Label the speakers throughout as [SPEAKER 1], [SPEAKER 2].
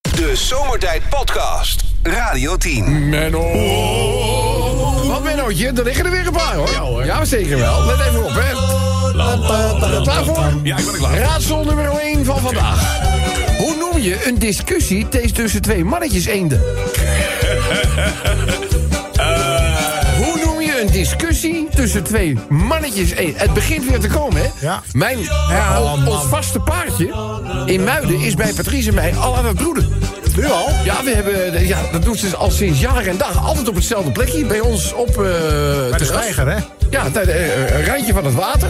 [SPEAKER 1] De Zomertijd Podcast. Radio 10.
[SPEAKER 2] Menno.
[SPEAKER 3] Wat Mennootje, er liggen er weer een paar hoor.
[SPEAKER 2] Ja, hoor.
[SPEAKER 3] zeker wel. Let even op hè. Klaar voor?
[SPEAKER 2] Ja, ik ben er klaar voor.
[SPEAKER 3] Raadsel nummer 1 van vandaag. Hoe noem je een discussie te- tussen twee mannetjes eenden? Hoe noem je een discussie tussen twee mannetjes eenden? Het begint weer te komen, hè?
[SPEAKER 4] Ja.
[SPEAKER 3] Mijn, ons- ons vaste paardje in Muiden is bij Patrice en mij al aan het broeden.
[SPEAKER 4] Nu al?
[SPEAKER 3] Ja, we hebben, ja, dat doet ze al sinds jaar en dag. Altijd op hetzelfde plekje. Bij ons op eh de
[SPEAKER 4] Bij de steiger, hè?
[SPEAKER 3] Ja, t- eh, een randje van het water.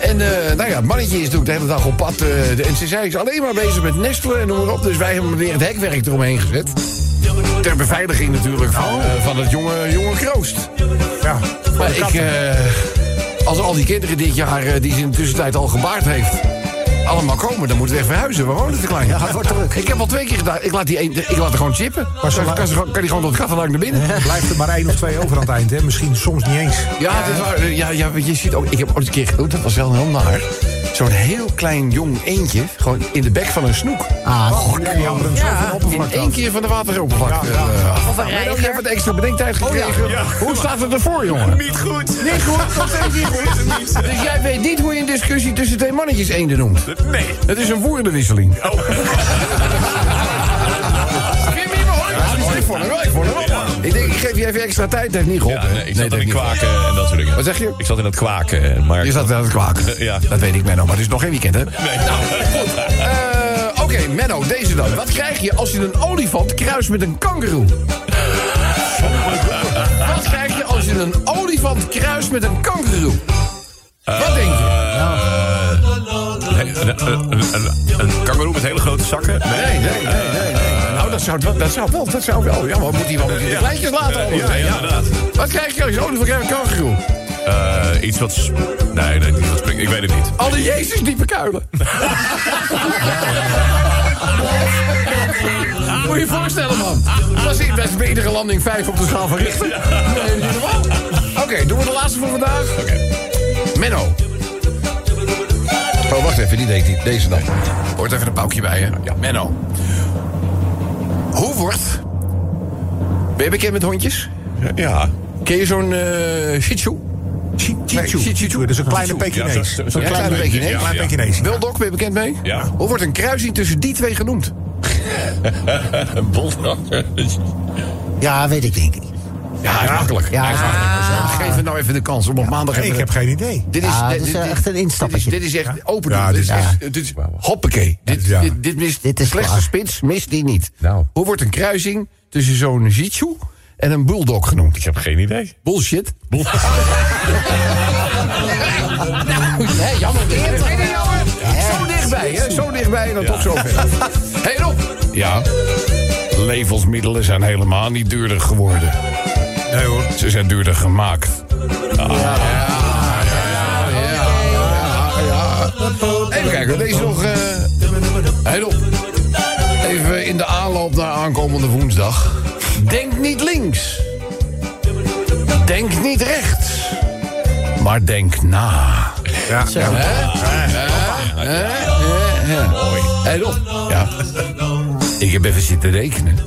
[SPEAKER 3] En eh, nou ja, het mannetje is natuurlijk de hele dag op pad. eh, de, en ze zei, is alleen maar bezig met nestelen en noem maar op. Dus wij hebben weer het hekwerk eromheen gezet. Ter beveiliging natuurlijk van, eh, van het jonge, jonge kroost.
[SPEAKER 4] Ja.
[SPEAKER 3] Maar ik, eh, als al die kinderen dit jaar, eh, die ze in de tussentijd al gebaard heeft... allemaal komen, dan moeten we echt verhuizen. We wonen te klein. Ja, het wordt druk. Ik heb al twee keer gedacht, ik laat, die een, ik laat er gewoon chippen. Maar
[SPEAKER 4] zo-
[SPEAKER 3] kan, kan, ze gewoon- kan die gewoon tot het gat en lang naar binnen.
[SPEAKER 4] Blijft er maar één of twee over aan het eind, hè? Misschien soms niet eens.
[SPEAKER 3] Ja, het is waar. Ja, ja, want je ziet ook. Ik heb ooit een keer gedoe, dat was wel heel naar. Zo'n heel klein jong eendje, gewoon in de bek van een snoek.
[SPEAKER 4] Ah, oh, die andere hem zo van de
[SPEAKER 3] In
[SPEAKER 4] oppervlakte
[SPEAKER 3] één
[SPEAKER 4] af.
[SPEAKER 3] keer van de wateroppervlak.
[SPEAKER 4] Ja, ja.
[SPEAKER 3] eh, Oh,
[SPEAKER 5] Of een
[SPEAKER 3] en ook even
[SPEAKER 5] reiger.
[SPEAKER 3] wat extra bedenktijd gekregen.
[SPEAKER 2] ja.
[SPEAKER 3] Hoe staat het ervoor, jongen?
[SPEAKER 2] Niet goed.
[SPEAKER 3] Niet goed, nog steeds niet goed. Dus jij weet niet hoe je een discussie tussen twee mannetjes eenden noemt.
[SPEAKER 2] Nee.
[SPEAKER 3] Het is een woordenwisseling.
[SPEAKER 2] Oh.
[SPEAKER 3] Geef me maar hoor. Ik vond hem wel, ik vond hem wel. man. Ik denk, ik geef je even extra tijd, dat heeft niet
[SPEAKER 6] Ja,
[SPEAKER 3] geholpen.
[SPEAKER 6] nee, ik zat
[SPEAKER 3] dat
[SPEAKER 6] in
[SPEAKER 3] heeft niet
[SPEAKER 6] kwaken en dat soort dingen.
[SPEAKER 3] Wat zeg je?
[SPEAKER 6] Ik zat in dat kwaken, eh, maar...
[SPEAKER 3] Je zat wel aan het kwaken.
[SPEAKER 6] Ja.
[SPEAKER 3] Dat weet ik, Menno, maar het is nog geen weekend, hè?
[SPEAKER 6] Nee, nou, goed.
[SPEAKER 3] Eh, Oké, Menno, deze dan. Wat krijg je als je een olifant kruist met een kangeroe? Wat krijg je als je een olifant kruist met een kangeroe? Wat denk
[SPEAKER 6] Eh,
[SPEAKER 3] je?
[SPEAKER 6] Nee, een, een, een, een, Eh, een kangoeroe met hele grote zakken? Nee.
[SPEAKER 3] Nee, nee, nee, nee. nee. Nou, dat zou, wel- dat zou wel, dat zou wel. Ja, maar moet hij wel moet hij de kleintjes laten? anders,
[SPEAKER 6] Eh, Ja,
[SPEAKER 3] hè? Ja.
[SPEAKER 6] inderdaad.
[SPEAKER 3] Wat krijg je als je een olifant kruist met een kangeroe?
[SPEAKER 6] Eh, iets wat... sp- Nee, nee, niet wat springt. Ik weet het niet.
[SPEAKER 3] Alle Jezus diepe kuilen. Moet je je voorstellen, man. Dat was in best betere landing 5 op de schaal van Richter. Nee, niet normaal. Oké, doen we de laatste voor vandaag. Menno. Oh, wacht even, die deed niet. Deze dan. Hoort even een paukje bij, hè? Ja. Menno. Hoe wordt... Ben je bekend met hondjes?
[SPEAKER 6] Ja.
[SPEAKER 3] Ken je zo'n eh shih tzu?
[SPEAKER 4] Chi-
[SPEAKER 3] Nee,
[SPEAKER 4] Chichu.
[SPEAKER 3] Chichu.
[SPEAKER 4] Dat is een kleine
[SPEAKER 3] Chichu.
[SPEAKER 6] Ja,
[SPEAKER 4] Pekinees.
[SPEAKER 6] zo- zo-
[SPEAKER 4] Zo'n
[SPEAKER 6] ja,
[SPEAKER 4] kleine Pekinees.
[SPEAKER 3] kleine Pekinees.
[SPEAKER 4] Klein
[SPEAKER 6] Ja, ja.
[SPEAKER 4] Pekinees.
[SPEAKER 3] Wel, Doc, ben je bekend mee?
[SPEAKER 6] Ja.
[SPEAKER 3] Hoe wordt een kruising tussen die twee genoemd?
[SPEAKER 6] Een boldrakker.
[SPEAKER 7] Ja, weet ik denk ik.
[SPEAKER 3] Ja, hij is makkelijk.
[SPEAKER 7] Ja.
[SPEAKER 3] Hij is makkelijk. Geef hem nou even de kans om op maandag even...
[SPEAKER 4] Ik heb geen idee.
[SPEAKER 3] Dit
[SPEAKER 7] Ja, dit is, eh, echt een instappetje.
[SPEAKER 3] Dit is, dit is echt open
[SPEAKER 4] Ja,
[SPEAKER 3] doen.
[SPEAKER 4] dit is echt-
[SPEAKER 3] dit is hoppakee. Dit,
[SPEAKER 4] Ja.
[SPEAKER 3] dit, dit mist
[SPEAKER 7] Dit is
[SPEAKER 3] slechtste
[SPEAKER 7] klaar.
[SPEAKER 3] spits, mist die niet.
[SPEAKER 6] Nou.
[SPEAKER 3] Hoe wordt een kruising tussen zo'n Shih Tzu en een bulldog genoemd?
[SPEAKER 6] Ik heb geen idee.
[SPEAKER 3] Bullshit. nou, nee, jammer. Dit is niet jammer. Zo dichtbij, hè? Zo dichtbij en dan tot zover. Hé, Rob. Ja. Levensmiddelen zijn helemaal niet duurder geworden. Nee hoor. Ze zijn duurder gemaakt. Ah. Even kijken, deze nog. eh Hey, Rob. Even in de aanloop naar aankomende woensdag. Denk niet links. Denk niet rechts. Maar denk na.
[SPEAKER 4] Ja.
[SPEAKER 3] Mooi. Hey Rob. Ja. Ik heb even zitten rekenen.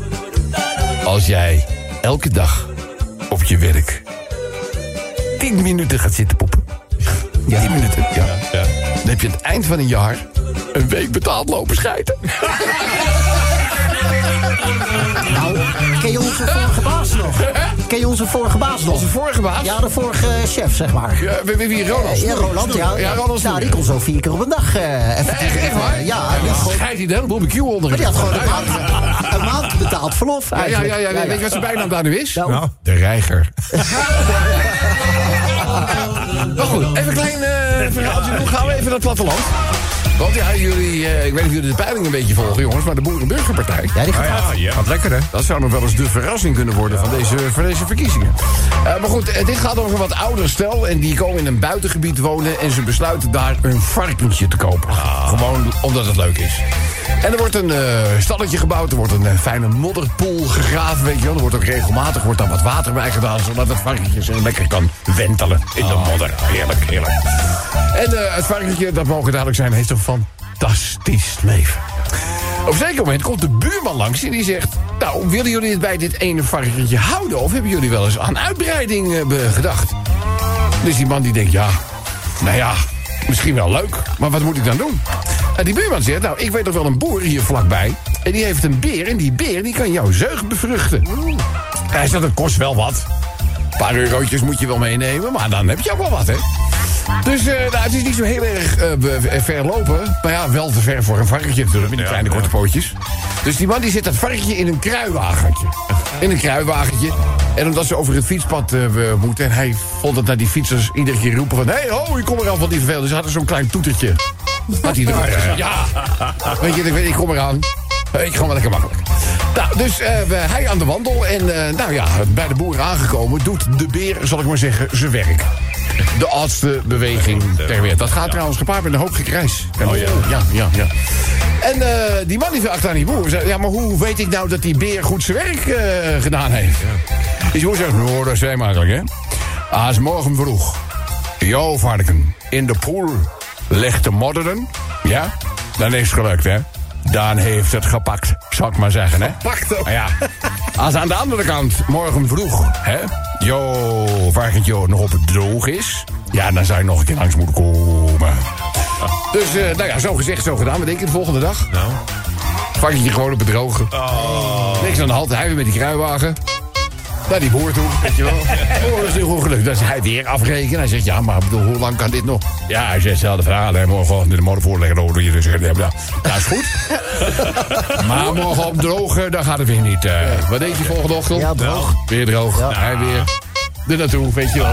[SPEAKER 3] Als jij elke dag op je werk 10 minuten gaat zitten poppen. 10 minuten, ja.
[SPEAKER 6] Ja.
[SPEAKER 3] Dan heb je aan het eind van een jaar een week betaald lopen schijten.
[SPEAKER 7] Nou, ken je onze vorige baas nog? Ken je onze vorige baas nog?
[SPEAKER 3] Onze vorige baas.
[SPEAKER 7] Ja, de vorige chef, zeg maar.
[SPEAKER 3] Ja, we- we- wie, Ronald?
[SPEAKER 7] Ja, Roland, ja.
[SPEAKER 3] Ja, Ronald
[SPEAKER 7] Nou,
[SPEAKER 3] Snoer.
[SPEAKER 7] die kon zo vier keer op een dag eh even
[SPEAKER 3] Echt, echt waar?
[SPEAKER 7] Ja, die had gewoon-
[SPEAKER 3] scheidt hij de hele boel BQ onder.
[SPEAKER 7] maar die had gewoon een maand, een maand betaald verlof
[SPEAKER 3] Ja, ja,
[SPEAKER 7] eigenlijk.
[SPEAKER 3] ja, ja, weet je wat zijn bijnaam daar nu is?
[SPEAKER 4] Nou.
[SPEAKER 3] De reiger. Maar Nou goed, even een klein eh, verhaaltje doen. Gaan we even naar het platteland. Want ja, jullie, eh, ik weet niet of jullie de peiling een beetje volgen, jongens, maar de Boerenburgerpartij.
[SPEAKER 7] Ja, die gaat
[SPEAKER 6] Ja, ja.
[SPEAKER 4] Wat lekker, hè?
[SPEAKER 3] Dat zou nog wel eens de verrassing kunnen worden van deze, van deze verkiezingen. Eh, maar goed, eh, dit gaat over een wat ouder stel. En die komen in een buitengebied wonen. En ze besluiten daar een varkentje te kopen. Gewoon omdat het leuk is. En er wordt een eh, stalletje gebouwd. Er wordt een eh, fijne modderpoel gegraven. Weet je wel. Er wordt ook regelmatig wordt daar wat water bij gedaan. Zodat het varkentje zo lekker kan wentelen in de modder. Heerlijk, heerlijk. En eh, het varkentje, dat mogen duidelijk zijn, heeft een fantastisch leven. Op een zeker moment komt de buurman langs en die zegt... Nou, willen jullie het bij dit ene varkentje houden... of hebben jullie wel eens aan uitbreiding eh, be- gedacht? Dus die man die denkt, ja, nou ja, misschien wel leuk... maar wat moet ik dan doen? En die buurman zegt, nou, ik weet nog wel een boer hier vlakbij... en die heeft een beer en die beer die kan jouw zeug bevruchten. Hij zegt, dat kost wel wat. Een paar eurotjes moet je wel meenemen, maar dan heb je ook wel wat, hè? Dus eh, nou, het is niet zo heel erg eh, be- eh, ver lopen. Maar ja, wel te ver voor een varkentje natuurlijk, met die kleine korte pootjes. Dus die man die zet dat varkentje in een kruiwagentje. In een kruiwagentje. En omdat ze over het fietspad eh, we moeten... en hij vond dat naar die fietsers iedere keer roepen van... hé, hey, ho, ik kom er al van die vervelend. Dus ze hadden zo'n klein toetertje. Had hij erop. gezet. Ja, Weet je, ik, weet- ik kom eraan. Ik ga wel lekker makkelijk. Nou, dus eh, we- hij aan de wandel. En eh, nou ja, bij de boer aangekomen doet de beer, zal ik maar zeggen, zijn werk. De oudste beweging ter wereld. Dat gaat trouwens gepaard met een hoop gekrijs. Oh, ja. ja, ja, En eh, die man die viel achter aan die boer. Zei, ja, maar hoe weet ik nou dat die beer goed zijn werk eh, gedaan heeft? Dus die boer zegt, nou, dat is heel makkelijk, hè. Als morgen vroeg Jo, varken, in de poel ligt te modderen. Ja? Dan is het gelukt, hè? Daan heeft het gepakt, zou ik maar zeggen, hè?
[SPEAKER 4] Gepakt ook.
[SPEAKER 3] Ja. Als aan de andere kant morgen vroeg, hè? Jo, varkentje nog op het droog is. Ja, dan zou je nog een keer langs moeten komen. Dus, eh, nou ja, zo gezegd, zo gedaan. Wat denk je de volgende dag?
[SPEAKER 6] Nou.
[SPEAKER 3] Varkentje gewoon op het droge. Niks aan de hand, hij weer met die kruiwagen. Naar die boer toe, weet je wel. Oh, dat is heel goed gelukt. Dan is hij weer afrekenen. Hij zegt, ja, maar ik bedoel, hoe lang kan dit nog? Ja, hij zegt, hetzelfde verhaal. Hè. Morgen in de morgen voorleggen. Oh, doe je dus. Ja, nou, Dat is goed. maar morgen op drogen, dan gaat het weer niet. eh. Wat deed je volgende ochtend?
[SPEAKER 7] Ja, droog.
[SPEAKER 3] Weer droog. Nou, hij weer er naartoe, weet je wel.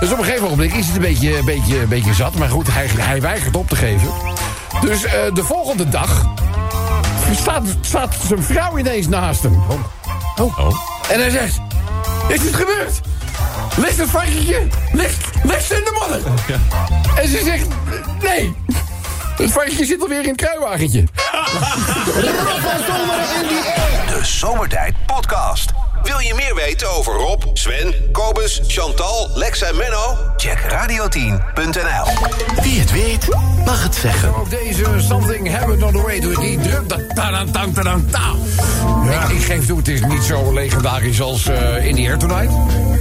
[SPEAKER 3] Dus op een gegeven moment is het een beetje, een beetje, een beetje zat. Maar goed, hij, hij weigert op te geven. Dus eh, de volgende dag staat, staat zijn vrouw ineens naast hem.
[SPEAKER 6] Oh.
[SPEAKER 3] En hij zegt: Is het gebeurd? Ligt het varkentje? Ligt, ligt ze in de modder? En ze zegt: Nee. Het varkentje zit alweer in het kruiwagentje.
[SPEAKER 1] De Zomertijd Podcast. Wil je meer weten over Rob, Sven, Kobus, Chantal, Lex en Menno? Check radio10.nl.
[SPEAKER 2] Wie het weet, mag het zeggen.
[SPEAKER 3] Ook deze Something Happened on the Way to die drum. dat tadan, tan, tadan, ta. Ik, ik geef toe, het is niet zo legendarisch als eh, In the Air Tonight.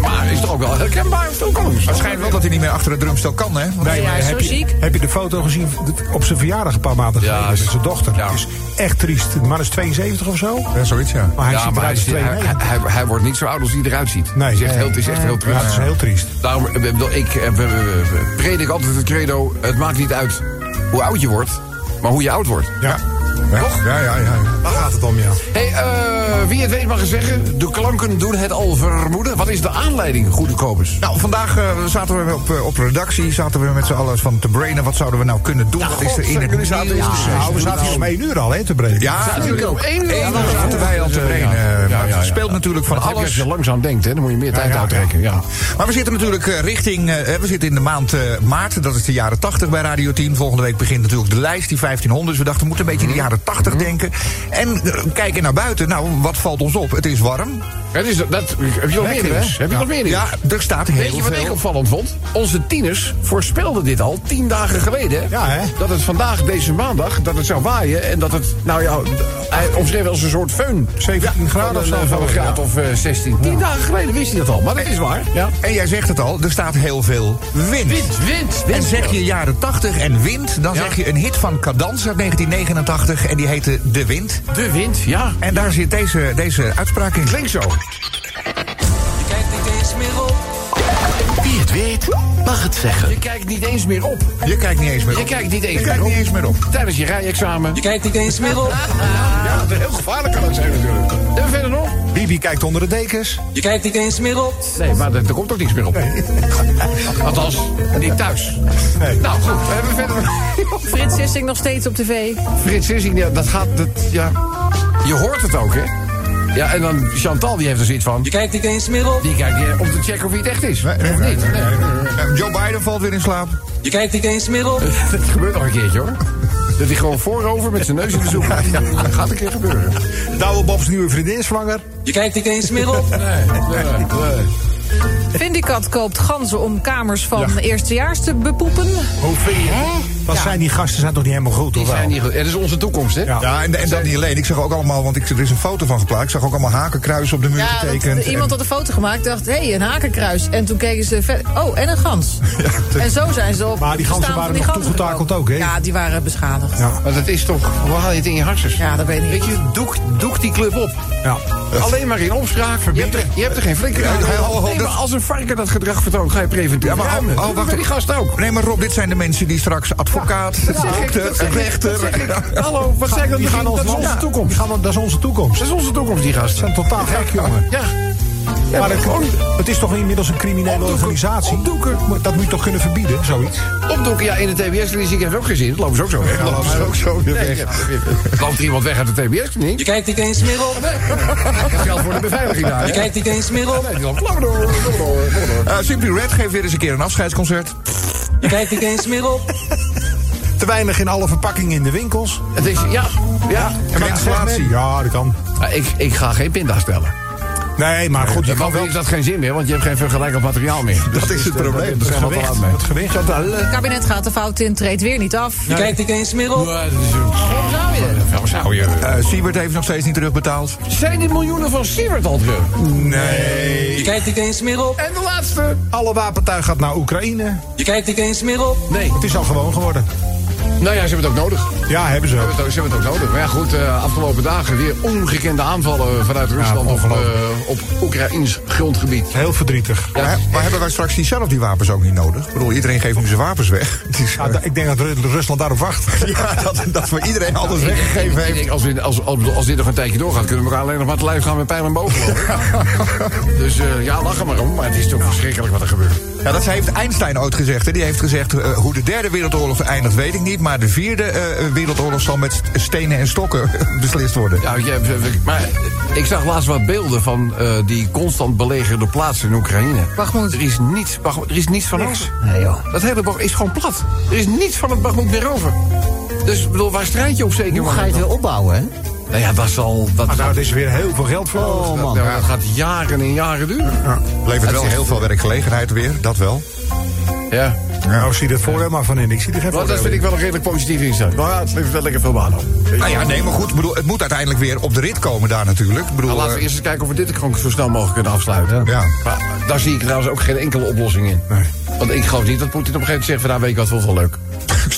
[SPEAKER 3] Maar is toch ook wel herkenbaar of toekomst.
[SPEAKER 5] Het schijnt wel dat hij niet meer achter de drumstel kan, hè? Want
[SPEAKER 4] Nee, maar
[SPEAKER 8] hij is
[SPEAKER 4] heb,
[SPEAKER 8] zo
[SPEAKER 4] je,
[SPEAKER 8] ziek.
[SPEAKER 4] heb je de foto gezien op zijn verjaardag een paar maanden
[SPEAKER 3] Ja,
[SPEAKER 4] geleden met
[SPEAKER 3] is-
[SPEAKER 4] zijn dochter?
[SPEAKER 3] ja.
[SPEAKER 4] Het is echt triest. De man is 72 of zo,
[SPEAKER 5] Ja, zoiets, ja.
[SPEAKER 4] maar hij
[SPEAKER 3] Ja,
[SPEAKER 4] ziet
[SPEAKER 3] maar hij,
[SPEAKER 4] eruit als
[SPEAKER 3] is- hij,
[SPEAKER 4] 92.
[SPEAKER 3] hij- hij wordt niet zo oud als hij eruit ziet.
[SPEAKER 4] Nee.
[SPEAKER 3] het, is echt heel, het is echt heel
[SPEAKER 4] Ja, dat is
[SPEAKER 3] terug.
[SPEAKER 4] heel triest.
[SPEAKER 3] Daarom eh, bedoel, ik, eh, we- we- we- we- predik altijd het credo: het maakt niet uit hoe oud je wordt, maar hoe je oud wordt.
[SPEAKER 5] Ja. Ja, ja, ja. ja.
[SPEAKER 4] Waar gaat het om, ja?
[SPEAKER 3] Hey, eh, wie het weet mag het zeggen, de klanken doen het al vermoeden. Wat is de aanleiding, goede kopers?
[SPEAKER 5] Nou, vandaag eh, zaten we op, eh, op redactie, zaten we met z'n allen van te brainen. Wat zouden we nou kunnen doen? Wat is er in het nieuws?
[SPEAKER 4] Nou, we zaten hier om één uur al, hè, te breken.
[SPEAKER 5] Ja, natuurlijk ook.
[SPEAKER 3] Eén uur.
[SPEAKER 5] Eén uur zaten wij al te brainen.
[SPEAKER 3] eh,
[SPEAKER 5] Maar Het speelt natuurlijk van
[SPEAKER 3] Dat heb je als
[SPEAKER 5] alles.
[SPEAKER 3] je langzaam denkt, hè, dan moet je meer tijd
[SPEAKER 5] ja,
[SPEAKER 3] uitrekken. Ja.
[SPEAKER 5] Maar we zitten natuurlijk eh, richting. eh, we zitten in de maand eh, maart. Dat is de jaren 80 bij Radio 10. Volgende week begint natuurlijk de lijst, die 1500. Dus we dachten, we moeten een beetje in de jaren 80
[SPEAKER 3] Mhm.
[SPEAKER 5] denken. En eh, kijken naar buiten. Nou, wat valt ons op? Het is warm.
[SPEAKER 3] Het is, dat, heb je nog meer
[SPEAKER 5] Lekker,
[SPEAKER 3] nieuws?
[SPEAKER 5] hè?
[SPEAKER 3] Heb je nog meer nieuws?
[SPEAKER 5] Ja, er staat
[SPEAKER 3] Weet
[SPEAKER 5] heel
[SPEAKER 3] je wat ik
[SPEAKER 5] veel.
[SPEAKER 3] opvallend vond? Onze tieners voorspelden dit al tien dagen geleden. hè?
[SPEAKER 4] Ja, hè?
[SPEAKER 3] Dat het vandaag, deze maandag, dat het zou waaien. En dat het, nou ja, hij omschreef als een soort feun.
[SPEAKER 4] 17 graden
[SPEAKER 3] Van
[SPEAKER 4] of
[SPEAKER 3] een,
[SPEAKER 4] zo.
[SPEAKER 3] eh, Van een graad of eh, 16. Tien dagen geleden wist hij dat al, maar dat is waar. Ja.
[SPEAKER 5] En jij zegt het al, er staat heel veel wind.
[SPEAKER 3] Wind, wind, wind.
[SPEAKER 5] En zeg je jaren 80 en wind, dan
[SPEAKER 3] Ja.
[SPEAKER 5] zeg je een hit van Cadans uit 1989 en die heette De Wind.
[SPEAKER 3] De wind, ja.
[SPEAKER 5] En daar zit deze, deze uitspraak in.
[SPEAKER 3] Klinkt zo.
[SPEAKER 9] Je kijkt niet eens meer op.
[SPEAKER 2] Wie het weet, mag het zeggen.
[SPEAKER 3] Je kijkt niet eens meer op.
[SPEAKER 5] Je kijkt niet eens meer op.
[SPEAKER 3] Je kijkt niet eens
[SPEAKER 5] Je
[SPEAKER 3] meer
[SPEAKER 5] kijkt
[SPEAKER 3] op.
[SPEAKER 5] niet eens meer op.
[SPEAKER 3] Tijdens je rijexamen.
[SPEAKER 9] Je kijkt niet eens meer op.
[SPEAKER 3] Ja, dat is heel gevaarlijk kan dat zijn natuurlijk. En verder nog?
[SPEAKER 5] Bibi kijkt onder de dekens.
[SPEAKER 9] Je kijkt niet eens meer op.
[SPEAKER 3] Nee, maar er, er komt ook niks meer op. Althans, niet thuis. Nou goed, we hebben verder nog...
[SPEAKER 8] Frits Sissing nog steeds op tv.
[SPEAKER 3] Frits Sissing, ja, dat gaat... Dat, ja. Je hoort het ook, hè? Ja, en dan Chantal, die heeft er zoiets van...
[SPEAKER 9] Je kijkt niet eens meer op.
[SPEAKER 3] Die kijkt eh, om te checken of hij het echt is. of niet. Nee,
[SPEAKER 5] Eh, Joe Biden valt weer in slaap.
[SPEAKER 9] Je kijkt niet eens meer op.
[SPEAKER 3] Dat gebeurt nog een keertje, hoor. Dat hij gewoon voorover met zijn neus in de zoek gaat. Ja, dat gaat een keer gebeuren.
[SPEAKER 4] Douwe Bob's nieuwe vriendin is zwanger.
[SPEAKER 9] Je kijkt niet eens meer op.
[SPEAKER 3] Nee, nee.
[SPEAKER 8] Vindicat koopt ganzen om kamers van eerstejaars te bepoepen.
[SPEAKER 4] Hoe vind je Wat zijn die gasten? Zijn toch niet helemaal goed,
[SPEAKER 3] Die
[SPEAKER 4] of wel?
[SPEAKER 3] zijn niet goed. Het is onze toekomst, hè?
[SPEAKER 4] Ja.
[SPEAKER 5] Ja, en, en dat niet alleen. Ik zag ook allemaal, want ik, er is een foto van geplaatst. Ik zag ook allemaal hakenkruisen op de muur
[SPEAKER 8] Ja, want
[SPEAKER 5] getekend.
[SPEAKER 8] er- iemand had een foto gemaakt, dacht, hé, hey, een hakenkruis. En toen keken ze verder, oh, en een gans. En zo zijn ze op
[SPEAKER 4] Maar die ganzen
[SPEAKER 8] het bestaan
[SPEAKER 4] waren
[SPEAKER 8] van die
[SPEAKER 4] nog
[SPEAKER 8] ganzen
[SPEAKER 4] toegetakeld
[SPEAKER 8] gekomen.
[SPEAKER 4] ook, hè?
[SPEAKER 8] Ja, die waren beschadigd.
[SPEAKER 4] Ja.
[SPEAKER 3] Maar dat is toch, hoe haal je het in je hartjes?
[SPEAKER 8] Ja, dat weet ik niet.
[SPEAKER 3] Weet je, doek, doek die club op.
[SPEAKER 4] Ja.
[SPEAKER 3] Alleen maar in opspraak. Eh, Je hebt er, je hebt er geen flinke aan.
[SPEAKER 5] Ja, oh, oh,
[SPEAKER 3] Nee, maar
[SPEAKER 5] dat-
[SPEAKER 3] als een varken dat gedrag vertoont, ga je preventief
[SPEAKER 5] Ja, maar oh,
[SPEAKER 3] ruimen.
[SPEAKER 5] oh,
[SPEAKER 3] Doe dat
[SPEAKER 5] wacht
[SPEAKER 3] bij die
[SPEAKER 5] even.
[SPEAKER 3] gast ook.
[SPEAKER 5] Nee, maar Rob, dit zijn de mensen die straks advocaat,
[SPEAKER 3] dat
[SPEAKER 5] dokter,
[SPEAKER 3] zeg ik, dat
[SPEAKER 5] rechter...
[SPEAKER 3] zeg ik. Hallo, wat zei ik dan?
[SPEAKER 4] Die gaan
[SPEAKER 3] Dat
[SPEAKER 4] ons
[SPEAKER 3] is onze
[SPEAKER 4] land-
[SPEAKER 3] toekomst.
[SPEAKER 4] die gaan- Dat is onze toekomst.
[SPEAKER 3] Dat is onze toekomst, die
[SPEAKER 4] Ze zijn
[SPEAKER 3] gasten.
[SPEAKER 4] totaal gek, jongen.
[SPEAKER 3] Ja.
[SPEAKER 4] Ja, maar het,
[SPEAKER 3] gewoon
[SPEAKER 4] het is toch inmiddels een criminele
[SPEAKER 3] Opdoeken,
[SPEAKER 4] organisatie?
[SPEAKER 3] opdoeken.
[SPEAKER 4] Maar Dat moet je toch kunnen verbieden, zoiets?
[SPEAKER 3] opdoeken. Ja, in de TBS-kliniek heeft ook geen zin. Dat lopen ze ook zo weg.
[SPEAKER 5] Ja, lopen ze ook zo weer
[SPEAKER 3] Nee,
[SPEAKER 5] weg.
[SPEAKER 3] ja, ja. Loopt er iemand weg uit de TBS-kliniek?
[SPEAKER 9] Je kijkt niet eens meer op.
[SPEAKER 3] Dat geldt voor de beveiliging daar.
[SPEAKER 9] Je
[SPEAKER 3] hè?
[SPEAKER 9] kijkt niet eens meer op.
[SPEAKER 3] Nee, die loopt lang door, door, door, door.
[SPEAKER 5] Eh, Simply Red geeft weer eens een keer een afscheidsconcert.
[SPEAKER 9] Je kijkt niet eens meer op.
[SPEAKER 4] Te weinig in alle verpakkingen in de winkels.
[SPEAKER 3] Het is, ja, ja.
[SPEAKER 5] En
[SPEAKER 4] Ja, zegt men. Ja, dat kan.
[SPEAKER 3] Maar Ik, ik ga geen pinda stellen.
[SPEAKER 4] Nee, maar goed, je
[SPEAKER 3] Dan
[SPEAKER 4] kan wel...
[SPEAKER 3] is dat geen zin meer, want je hebt geen vergelijkend materiaal meer. Dus, eh,
[SPEAKER 5] Dat is het probleem.
[SPEAKER 3] Dat is helemaal te
[SPEAKER 4] gewicht,
[SPEAKER 3] laat mee.
[SPEAKER 4] het gewicht.
[SPEAKER 8] Het kabinet gaat de fout in, treedt weer niet af.
[SPEAKER 9] Je kijkt niet eens meer op.
[SPEAKER 3] Maar dat is een- Waarom zou je dat? Waarom zou je?
[SPEAKER 5] Eh Siebert heeft nog steeds niet terugbetaald.
[SPEAKER 3] Zijn die miljoenen van Sievert al terug?
[SPEAKER 5] Nee.
[SPEAKER 9] Je kijkt niet eens meer op.
[SPEAKER 3] En de laatste?
[SPEAKER 4] Alle wapentuig gaat naar Oekraïne.
[SPEAKER 9] Je kijkt niet eens meer op.
[SPEAKER 3] Nee.
[SPEAKER 4] Het is al gewoon geworden.
[SPEAKER 3] Nou ja, ze hebben het ook nodig. Ze
[SPEAKER 4] Ja, hebben ze ook.
[SPEAKER 3] hebben het ook, ze hebben het ook nodig. Maar ja, goed, eh, afgelopen dagen weer ongekende aanvallen vanuit Rusland op,
[SPEAKER 4] ongelooflijk.
[SPEAKER 3] eh, op Oekraïns grondgebied.
[SPEAKER 4] Heel verdrietig.
[SPEAKER 5] Maar, he- maar hebben wij straks die zelf die wapens ook niet nodig? Ik bedoel, iedereen geeft nu zijn wapens weg. Het is,
[SPEAKER 4] Ja, da- ik denk dat Ru- Rusland daarop wacht.
[SPEAKER 5] ja, dat, dat voor iedereen alles weggegeven
[SPEAKER 3] Ik
[SPEAKER 5] heeft.
[SPEAKER 3] denk, als, we, als, als, als dit nog een tijdje doorgaat, kunnen we elkaar alleen nog maar te lijf gaan met pijlen en bogen. hoor. dus eh, ja, lach er maar om, maar het is toch verschrikkelijk wat er gebeurt.
[SPEAKER 5] Ja, dat heeft Einstein ooit gezegd. Hè. Die heeft gezegd, eh, hoe de derde wereldoorlog eindigt weet ik niet... maar de vierde eh, wereldoorlog zal met st- stenen en stokken beslist worden.
[SPEAKER 3] Ja, je hebt- we- maar ik zag laatst wat beelden van eh, die constant belegerde plaatsen in Oekraïne.
[SPEAKER 8] Bakhmut.
[SPEAKER 3] Er is niets, Bakhmut, er is niets van ons. Nee, joh. Dat hele Bakhmut is gewoon plat. Er is niets van het Bakhmut meer over. Dus ik bedoel, waar strijd je op zeker?
[SPEAKER 7] Hoe
[SPEAKER 3] moment
[SPEAKER 7] ga je het weer
[SPEAKER 3] nog?
[SPEAKER 7] opbouwen, hè?
[SPEAKER 3] Nou ja, dat zal... Dat,
[SPEAKER 4] Maar nou, het is weer heel veel geld voor.
[SPEAKER 7] Oh,
[SPEAKER 3] dat,
[SPEAKER 7] man.
[SPEAKER 3] nou, dat gaat jaren en jaren duren.
[SPEAKER 5] nou, Levert wel
[SPEAKER 3] is-
[SPEAKER 5] heel veel werkgelegenheid weer, dat wel.
[SPEAKER 3] Ja.
[SPEAKER 4] Nou, zie je het voordeel maar van in. Ik zie er geen
[SPEAKER 3] Want
[SPEAKER 4] voordeel
[SPEAKER 3] dat vind ik wel een redelijk positief inzicht. Maar Nou ja, het levert wel lekker veel baan op.
[SPEAKER 5] Nou ja, nee, maar goed, ik bedoel, het moet uiteindelijk weer op de rit komen daar natuurlijk. Ik
[SPEAKER 3] Nou,
[SPEAKER 5] bedoel,
[SPEAKER 3] laten we
[SPEAKER 5] eh,
[SPEAKER 3] eerst eens kijken of we dit kronk zo snel mogelijk kunnen afsluiten.
[SPEAKER 5] Ja.
[SPEAKER 3] Maar daar zie ik trouwens ook geen enkele oplossing in. Want ik geloof niet dat Poetin op een gegeven moment zegt... van, nou weet ik wat, vond het wel leuk.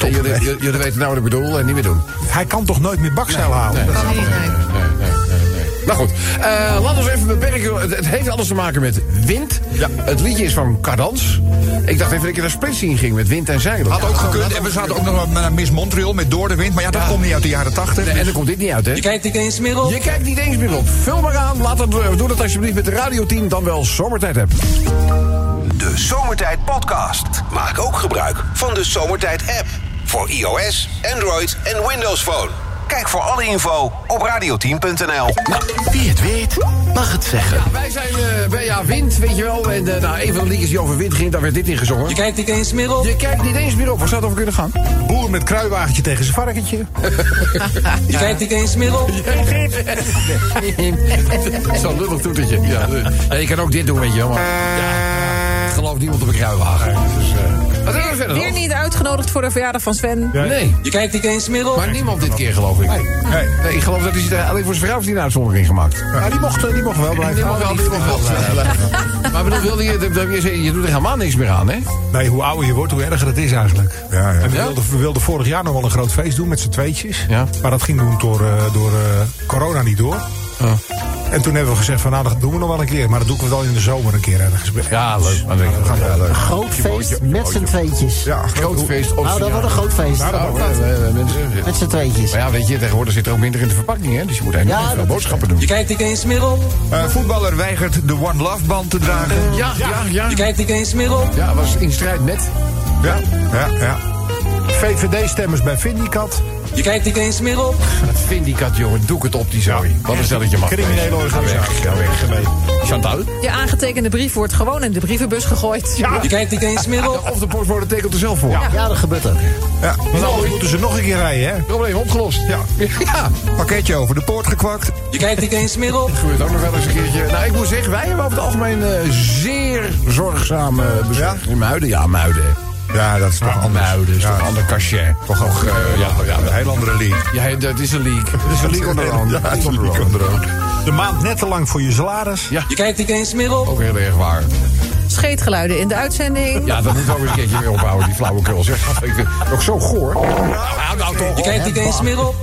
[SPEAKER 3] En jullie, j- jullie weten nou wat ik bedoel en niet meer doen.
[SPEAKER 4] in. Hij kan toch nooit meer bakzeil halen?
[SPEAKER 8] Nee, nee.
[SPEAKER 3] Nee, nee, nee, nee. Nou goed, Eh laten we even beperken. Het, het heeft alles te maken met wind. Het liedje is van Cardans. Ik dacht even dat je naar splitsing in ging met wind en zeilen.
[SPEAKER 5] had ook gekund. En we zaten ook nog wel naar Miss Montreal met Door de Wind. Maar ja, dat komt niet uit de jaren tachtig.
[SPEAKER 3] En dan komt dit niet uit, hè?
[SPEAKER 9] Je kijkt niet eens meer op.
[SPEAKER 3] Je kijkt niet eens meer op. Vul maar aan. Laat dat, doe dat alsjeblieft met de radioteam. Dan wel zomertijd hebben.
[SPEAKER 1] De Zomertijd Podcast. Maak ook gebruik van de Zomertijd app. Voor iOS, Android en Windows Phone. Kijk voor alle info op radioteam.nl.
[SPEAKER 2] Wie het weet, mag het zeggen.
[SPEAKER 3] Wij zijn eh, bij ja, Wind, weet je wel. En eh, nou, een van de liedjes die over Wind ging, daar werd dit in gezongen.
[SPEAKER 9] Je kijkt niet eens meer op.
[SPEAKER 3] Je kijkt niet eens meer op. Waar zou het over kunnen gaan?
[SPEAKER 4] Boer met kruiwagentje tegen zijn varkentje.
[SPEAKER 9] Je kijkt niet eens meer op.
[SPEAKER 3] Zo'n lullig toetertje. Ja, eh, ja, je kan ook dit doen, weet je wel. Maar, ja, geloof niemand op een kruiwagen. Dus, eh, wat hebben we verder
[SPEAKER 8] Weer
[SPEAKER 3] nog?
[SPEAKER 8] niet uitgenodigd voor de verjaardag van Sven.
[SPEAKER 3] Nee,
[SPEAKER 9] Je kijkt niet eens meer op.
[SPEAKER 3] maar niemand dit keer geloof ik.
[SPEAKER 5] Nee.
[SPEAKER 3] Nee, ik geloof dat hij zich- alleen voor zijn vrouw heeft hij een uitzondering gemaakt.
[SPEAKER 4] Nou, die mocht, die mocht wel blijven.
[SPEAKER 3] Die mag wel, die mag wel. Maar bedoel, wilde je, je, je, je doet er helemaal niks meer aan, hè?
[SPEAKER 4] Nee, hoe ouder je wordt, hoe erger het is eigenlijk.
[SPEAKER 5] Ja, ja.
[SPEAKER 4] En we,
[SPEAKER 3] Ja?
[SPEAKER 4] wilden, we wilden vorig jaar nog wel een groot feest doen met z'n tweetjes.
[SPEAKER 3] Ja.
[SPEAKER 4] Maar dat ging toen door, eh, door eh, corona niet door. En toen hebben we gezegd van nou, dat doen we nog wel een keer. Maar dat doen we wel in de zomer een keer ergens.
[SPEAKER 3] Ja, leuk. Maar
[SPEAKER 4] We gaan wel leuk.
[SPEAKER 7] Groot feest met z'n tweetjes.
[SPEAKER 5] Ja,
[SPEAKER 3] Groot feest op
[SPEAKER 7] Nou, dat
[SPEAKER 3] zijn
[SPEAKER 7] wordt een
[SPEAKER 3] jaar.
[SPEAKER 7] groot feest.
[SPEAKER 3] Nou, eh, eh, mensen,
[SPEAKER 7] Met z'n tweetjes.
[SPEAKER 3] Maar ja, weet je, tegenwoordig zit er ook minder in de verpakking, hè? Dus je moet eigenlijk
[SPEAKER 7] Ja,
[SPEAKER 3] veel
[SPEAKER 7] dat is
[SPEAKER 3] boodschappen doen.
[SPEAKER 9] Je kijkt niet eens meer op.
[SPEAKER 5] Eh, voetballer weigert de One Love band te dragen.
[SPEAKER 3] Ja, ja, ja.
[SPEAKER 9] Je kijkt niet eens meer op.
[SPEAKER 3] Ja, was in strijd met.
[SPEAKER 5] Ja, ja, ja.
[SPEAKER 4] VVD-stemmers bij Vindicat.
[SPEAKER 9] Je kijkt niet eens meer op.
[SPEAKER 3] Dat Vindicat, jongen, doe ik het op die zooi. Wat een stelletje mag.
[SPEAKER 4] Criminele organisatie.
[SPEAKER 3] Ga weg, ga weg. Chantal?
[SPEAKER 8] Je aangetekende brief wordt gewoon in de brievenbus gegooid.
[SPEAKER 9] Je kijkt niet eens meer op.
[SPEAKER 3] Of de postbode tekent er zelf voor.
[SPEAKER 7] Ja, dat gebeurt ook.
[SPEAKER 5] ja.
[SPEAKER 4] Want anders Nou, moeten ze nog een keer rijden, hè?
[SPEAKER 3] Probleem opgelost.
[SPEAKER 5] Ja.
[SPEAKER 3] ja.
[SPEAKER 5] Pakketje over de poort gekwakt.
[SPEAKER 9] Je kijkt niet eens meer op.
[SPEAKER 3] Gebeurt ook nog wel eens een keertje. Nou, ik moet zeggen, wij hebben over het algemeen eh, zeer zorgzame bezoekers. In Muiden? Ja, Muiden.
[SPEAKER 5] Ja, dat is
[SPEAKER 4] Ah.
[SPEAKER 5] toch anders.
[SPEAKER 3] Nou, dat is
[SPEAKER 5] Ja,
[SPEAKER 3] toch een ander cachet.
[SPEAKER 5] Toch ook eh,
[SPEAKER 3] ja, ja,
[SPEAKER 5] een heel andere league.
[SPEAKER 3] Ja, dat is een leak. Dat is een leak on the road.
[SPEAKER 5] Ja,
[SPEAKER 3] Leak on the
[SPEAKER 5] league
[SPEAKER 3] road.
[SPEAKER 5] on the road.
[SPEAKER 4] De maand net te lang voor je salaris.
[SPEAKER 3] Ja.
[SPEAKER 9] Je kijkt niet eens meer op.
[SPEAKER 3] Ook heel erg waar.
[SPEAKER 8] Scheetgeluiden in de uitzending.
[SPEAKER 3] Ja, dat moet ook eens een keertje mee ophouden, die flauwekul. Zeg, ik vind het ook zo goor. Nou, nou toch.
[SPEAKER 9] Je kijkt niet eens meer op.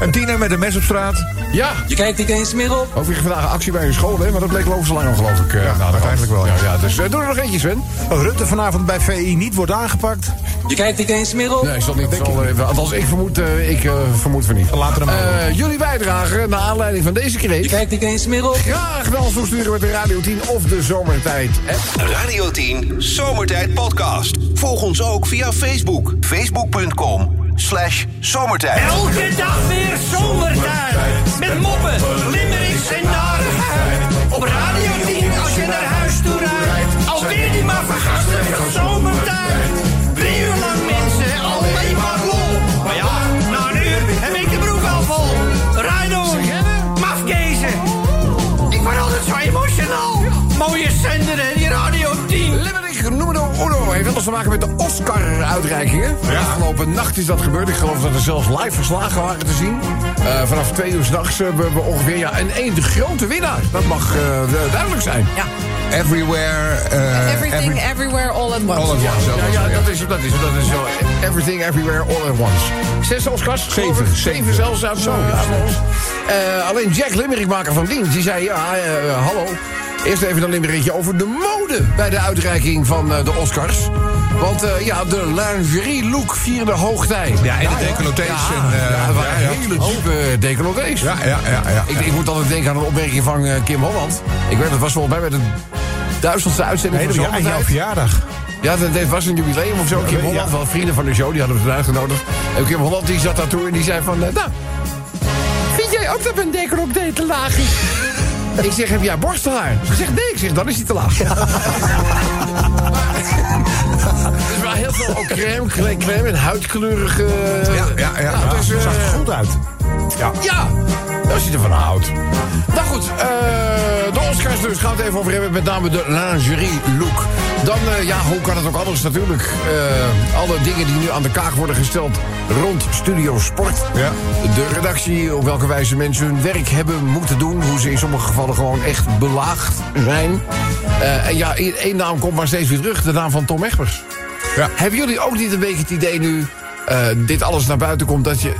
[SPEAKER 5] Een tiener met een mes op straat.
[SPEAKER 3] Ja.
[SPEAKER 9] Je kijkt niet eens meer op.
[SPEAKER 3] Overigens vandaag een actie bij uw school, hè? Maar dat bleek levenslang, geloof ik. eh, na de
[SPEAKER 5] uiteindelijk wel, ja.
[SPEAKER 3] Ja, ja, dus eh, doe er nog eentje, Sven.
[SPEAKER 4] Rutte vanavond bij VI niet wordt aangepakt.
[SPEAKER 9] Je kijkt niet eens meer op.
[SPEAKER 3] Nee, is dat niet al, eh, Althans, ik vermoed, eh, ik, eh, vermoed van niet.
[SPEAKER 4] Laten we hem
[SPEAKER 3] Eh, jullie bijdragen naar aanleiding van deze
[SPEAKER 9] Je
[SPEAKER 3] kreet.
[SPEAKER 9] kijkt niet eens meer op.
[SPEAKER 3] Graag wel toesturen met de Radio 10 of de Zomertijd. app.
[SPEAKER 1] Radio 10 Zomertijd Podcast. Volg ons ook via Facebook. Facebook.com slash zomertijd.
[SPEAKER 10] Elke dag weer zomertijd. Met moppen, limmerings en narigheid. Op Radio 10 als je naar huis toe rijdt. Alweer die maar vergastige zomertijd. Drie uur lang mensen, alleen maar lol. Maar ja, na een uur heb ik de broek al vol. Rijd door, mafkezen. Ik word altijd zo emotional. Mooie zender hè, die Radio 10.
[SPEAKER 3] Limerick Numero Uno heeft alles te maken met de Oscar-uitreikingen. Afgelopen nacht is dat gebeurd. Ik geloof dat er zelfs live verslagen waren te zien. Eh, vanaf twee uur s'nachts eh, we- we ongeveer. Ja, en één de grote winnaar. Dat mag eh, duidelijk zijn.
[SPEAKER 8] Ja.
[SPEAKER 5] Everywhere. eh,
[SPEAKER 8] Everything,
[SPEAKER 5] every-
[SPEAKER 8] everywhere, all at once.
[SPEAKER 5] All at once,
[SPEAKER 3] Ja,
[SPEAKER 5] dat was
[SPEAKER 3] ja,
[SPEAKER 5] het, ja.
[SPEAKER 3] dat is dat is dat is zo. Everything, everywhere, all at once. Zes Oscars?
[SPEAKER 5] Zeven,
[SPEAKER 3] geloof ik.
[SPEAKER 5] zeven.
[SPEAKER 3] Zeven zelfs uit zo. Eh, alleen Jack Limerickmaker van dienst, die zei, ja, eh, hallo. Eerst even een limerickje over de mode bij de uitreiking van eh, de Oscars. Want eh, ja, de lingerie look vierde hoogtij.
[SPEAKER 5] Ja, en de decolletés
[SPEAKER 3] Ja,
[SPEAKER 5] en, eh,
[SPEAKER 3] ja, het waren
[SPEAKER 5] ja, ja.
[SPEAKER 3] hele diepe decolletés.
[SPEAKER 5] Ja, ja, ja. ja.
[SPEAKER 3] Ik, ik moet altijd denken aan een opmerking van eh, Kim Holland. Ik weet, dat was volgens mij met een duizendste uitzending
[SPEAKER 4] Nee, dat
[SPEAKER 3] van
[SPEAKER 4] was aan jouw
[SPEAKER 3] Zomertijd.
[SPEAKER 4] verjaardag.
[SPEAKER 3] Ja, dat, dat was een jubileum of zo. Kim
[SPEAKER 4] weet-
[SPEAKER 3] Holland,
[SPEAKER 4] ja.
[SPEAKER 3] wel vrienden van de show, die hadden we eruit uitgenodigd. En Kim Holland die zat daartoe en die zei van... eh, nou, vind jij ook dat mijn decolleté te laag is? ik zeg, heb jij borsthaar? Ze zegt, nee. Ik zeg, dan is hij te laag. Dus maar heel veel ook crème, crème, crème en huidkleurige...
[SPEAKER 5] Ja, ja, ja.
[SPEAKER 3] Nou, dus, eh,
[SPEAKER 4] Zag er goed uit.
[SPEAKER 3] ja, als je ervan houdt. Nou goed, eh, de Oscars dus. Gaan we het even over hebben. Met name de lingerie look. Dan, eh, ja, hoe kan het ook anders natuurlijk? Eh, alle dingen die nu aan de kaak worden gesteld rond Studio Sport.
[SPEAKER 5] Ja.
[SPEAKER 3] De redactie, op welke wijze mensen hun werk hebben moeten doen. Hoe ze in sommige gevallen gewoon echt belaagd zijn. Eh, en ja, één één naam komt maar steeds weer terug. De naam van Tom Egbers.
[SPEAKER 5] Ja.
[SPEAKER 3] Hebben jullie ook niet een beetje het idee nu... eh, dit alles naar buiten komt, dat je...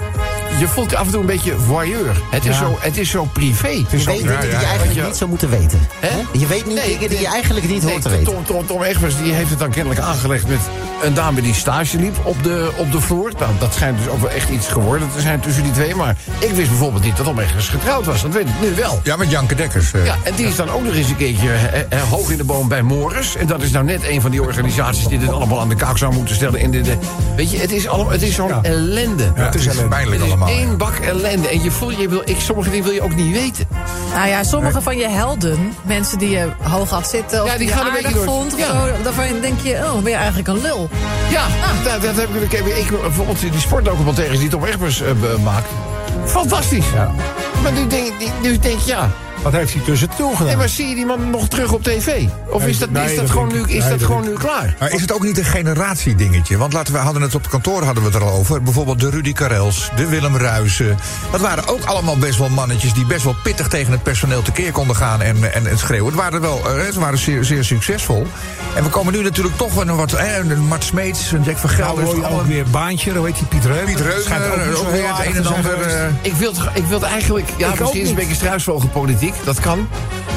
[SPEAKER 3] Je voelt je af en toe een beetje voyeur. Het is, zo, het is zo privé.
[SPEAKER 7] Je weet dingen die je eigenlijk niet zou moeten weten.
[SPEAKER 3] Hè?
[SPEAKER 7] Je weet niet
[SPEAKER 3] Nee,
[SPEAKER 7] dingen die je
[SPEAKER 3] nee.
[SPEAKER 7] eigenlijk niet hoort te
[SPEAKER 3] Nee,
[SPEAKER 7] weten.
[SPEAKER 3] Tom, Tom, Tom Egbers die heeft het dan kennelijk aangelegd met een dame die stage liep op de, op de vloer. Nou, dat schijnt dus ook wel echt iets geworden te zijn tussen die twee. Maar ik wist bijvoorbeeld niet dat Tom Egbers getrouwd was. Dat weet ik nu wel.
[SPEAKER 5] Ja, met Janke Dekkers. eh.
[SPEAKER 3] Ja, en die is dan ook nog eens een keertje eh, eh, hoog in de boom bij Morris. En dat is nou net een van die organisaties die dit allemaal aan de kaak zou moeten stellen. En de, de- weet je, het is, allemaal, het is zo'n ellende.
[SPEAKER 5] het is
[SPEAKER 4] ellende.
[SPEAKER 5] pijnlijk
[SPEAKER 3] Het is
[SPEAKER 5] allemaal.
[SPEAKER 3] één bak ellende. En je voelt, je wil, ik, sommige dingen wil je ook niet weten.
[SPEAKER 8] Nou ja, sommige van je helden, mensen die je hoog had zitten... of
[SPEAKER 3] Ja, die
[SPEAKER 8] die, je
[SPEAKER 3] gaan een
[SPEAKER 8] aardig
[SPEAKER 3] beetje door-
[SPEAKER 8] vond, of
[SPEAKER 3] ja.
[SPEAKER 8] zo, daarvan denk je, oh, ben je eigenlijk een lul.
[SPEAKER 3] Ja, Ah. dat, dat heb ik, ik, heb- ik. Bijvoorbeeld die sportdocumentaires die Tom Egbers eh, be- maakt. Fantastisch. Maar nu denk, die- nu denk je, ja.
[SPEAKER 4] Wat heeft hij tussen toe gedaan?
[SPEAKER 3] Nee, maar zie je die man nog terug op tv? Of
[SPEAKER 4] Nee,
[SPEAKER 3] is dat,
[SPEAKER 4] nee,
[SPEAKER 3] is dat,
[SPEAKER 4] dat
[SPEAKER 3] gewoon,
[SPEAKER 4] denk
[SPEAKER 3] nu,
[SPEAKER 4] ik.
[SPEAKER 3] is
[SPEAKER 4] Nee,
[SPEAKER 3] dat
[SPEAKER 4] dat
[SPEAKER 3] gewoon nu
[SPEAKER 4] denk
[SPEAKER 3] klaar?
[SPEAKER 5] Maar is het ook niet een generatiedingetje? Want laten we hadden het op het kantoor hadden we het er al over. Bijvoorbeeld de Rudy Karels, de Willem Ruijsen. Dat waren ook allemaal best wel mannetjes die best wel pittig tegen het personeel tekeer konden gaan en, en, en schreeuwen. Het waren, wel, eh, ze waren zeer, zeer succesvol. En we komen nu natuurlijk toch wel een wat. eh, een Mart Smeets, een Jack van
[SPEAKER 4] Nou,
[SPEAKER 5] Gelder.
[SPEAKER 4] hoor je
[SPEAKER 5] allemaal-
[SPEAKER 4] ook weer baantje, hoe heet die Piet Reumer?
[SPEAKER 5] Piet
[SPEAKER 4] Schijnt ook niet
[SPEAKER 5] Reumer, eh,
[SPEAKER 4] zo
[SPEAKER 5] ook
[SPEAKER 4] heel
[SPEAKER 5] weer het
[SPEAKER 4] aardig
[SPEAKER 5] een en
[SPEAKER 4] te zijn
[SPEAKER 5] ander.
[SPEAKER 4] geweest.
[SPEAKER 5] eh,
[SPEAKER 3] Ik wil, het- ik wil het eigenlijk... Ja,
[SPEAKER 4] Ik ook
[SPEAKER 3] misschien is het een
[SPEAKER 4] niet.
[SPEAKER 3] beetje struisvogelpolitiek. Dat kan.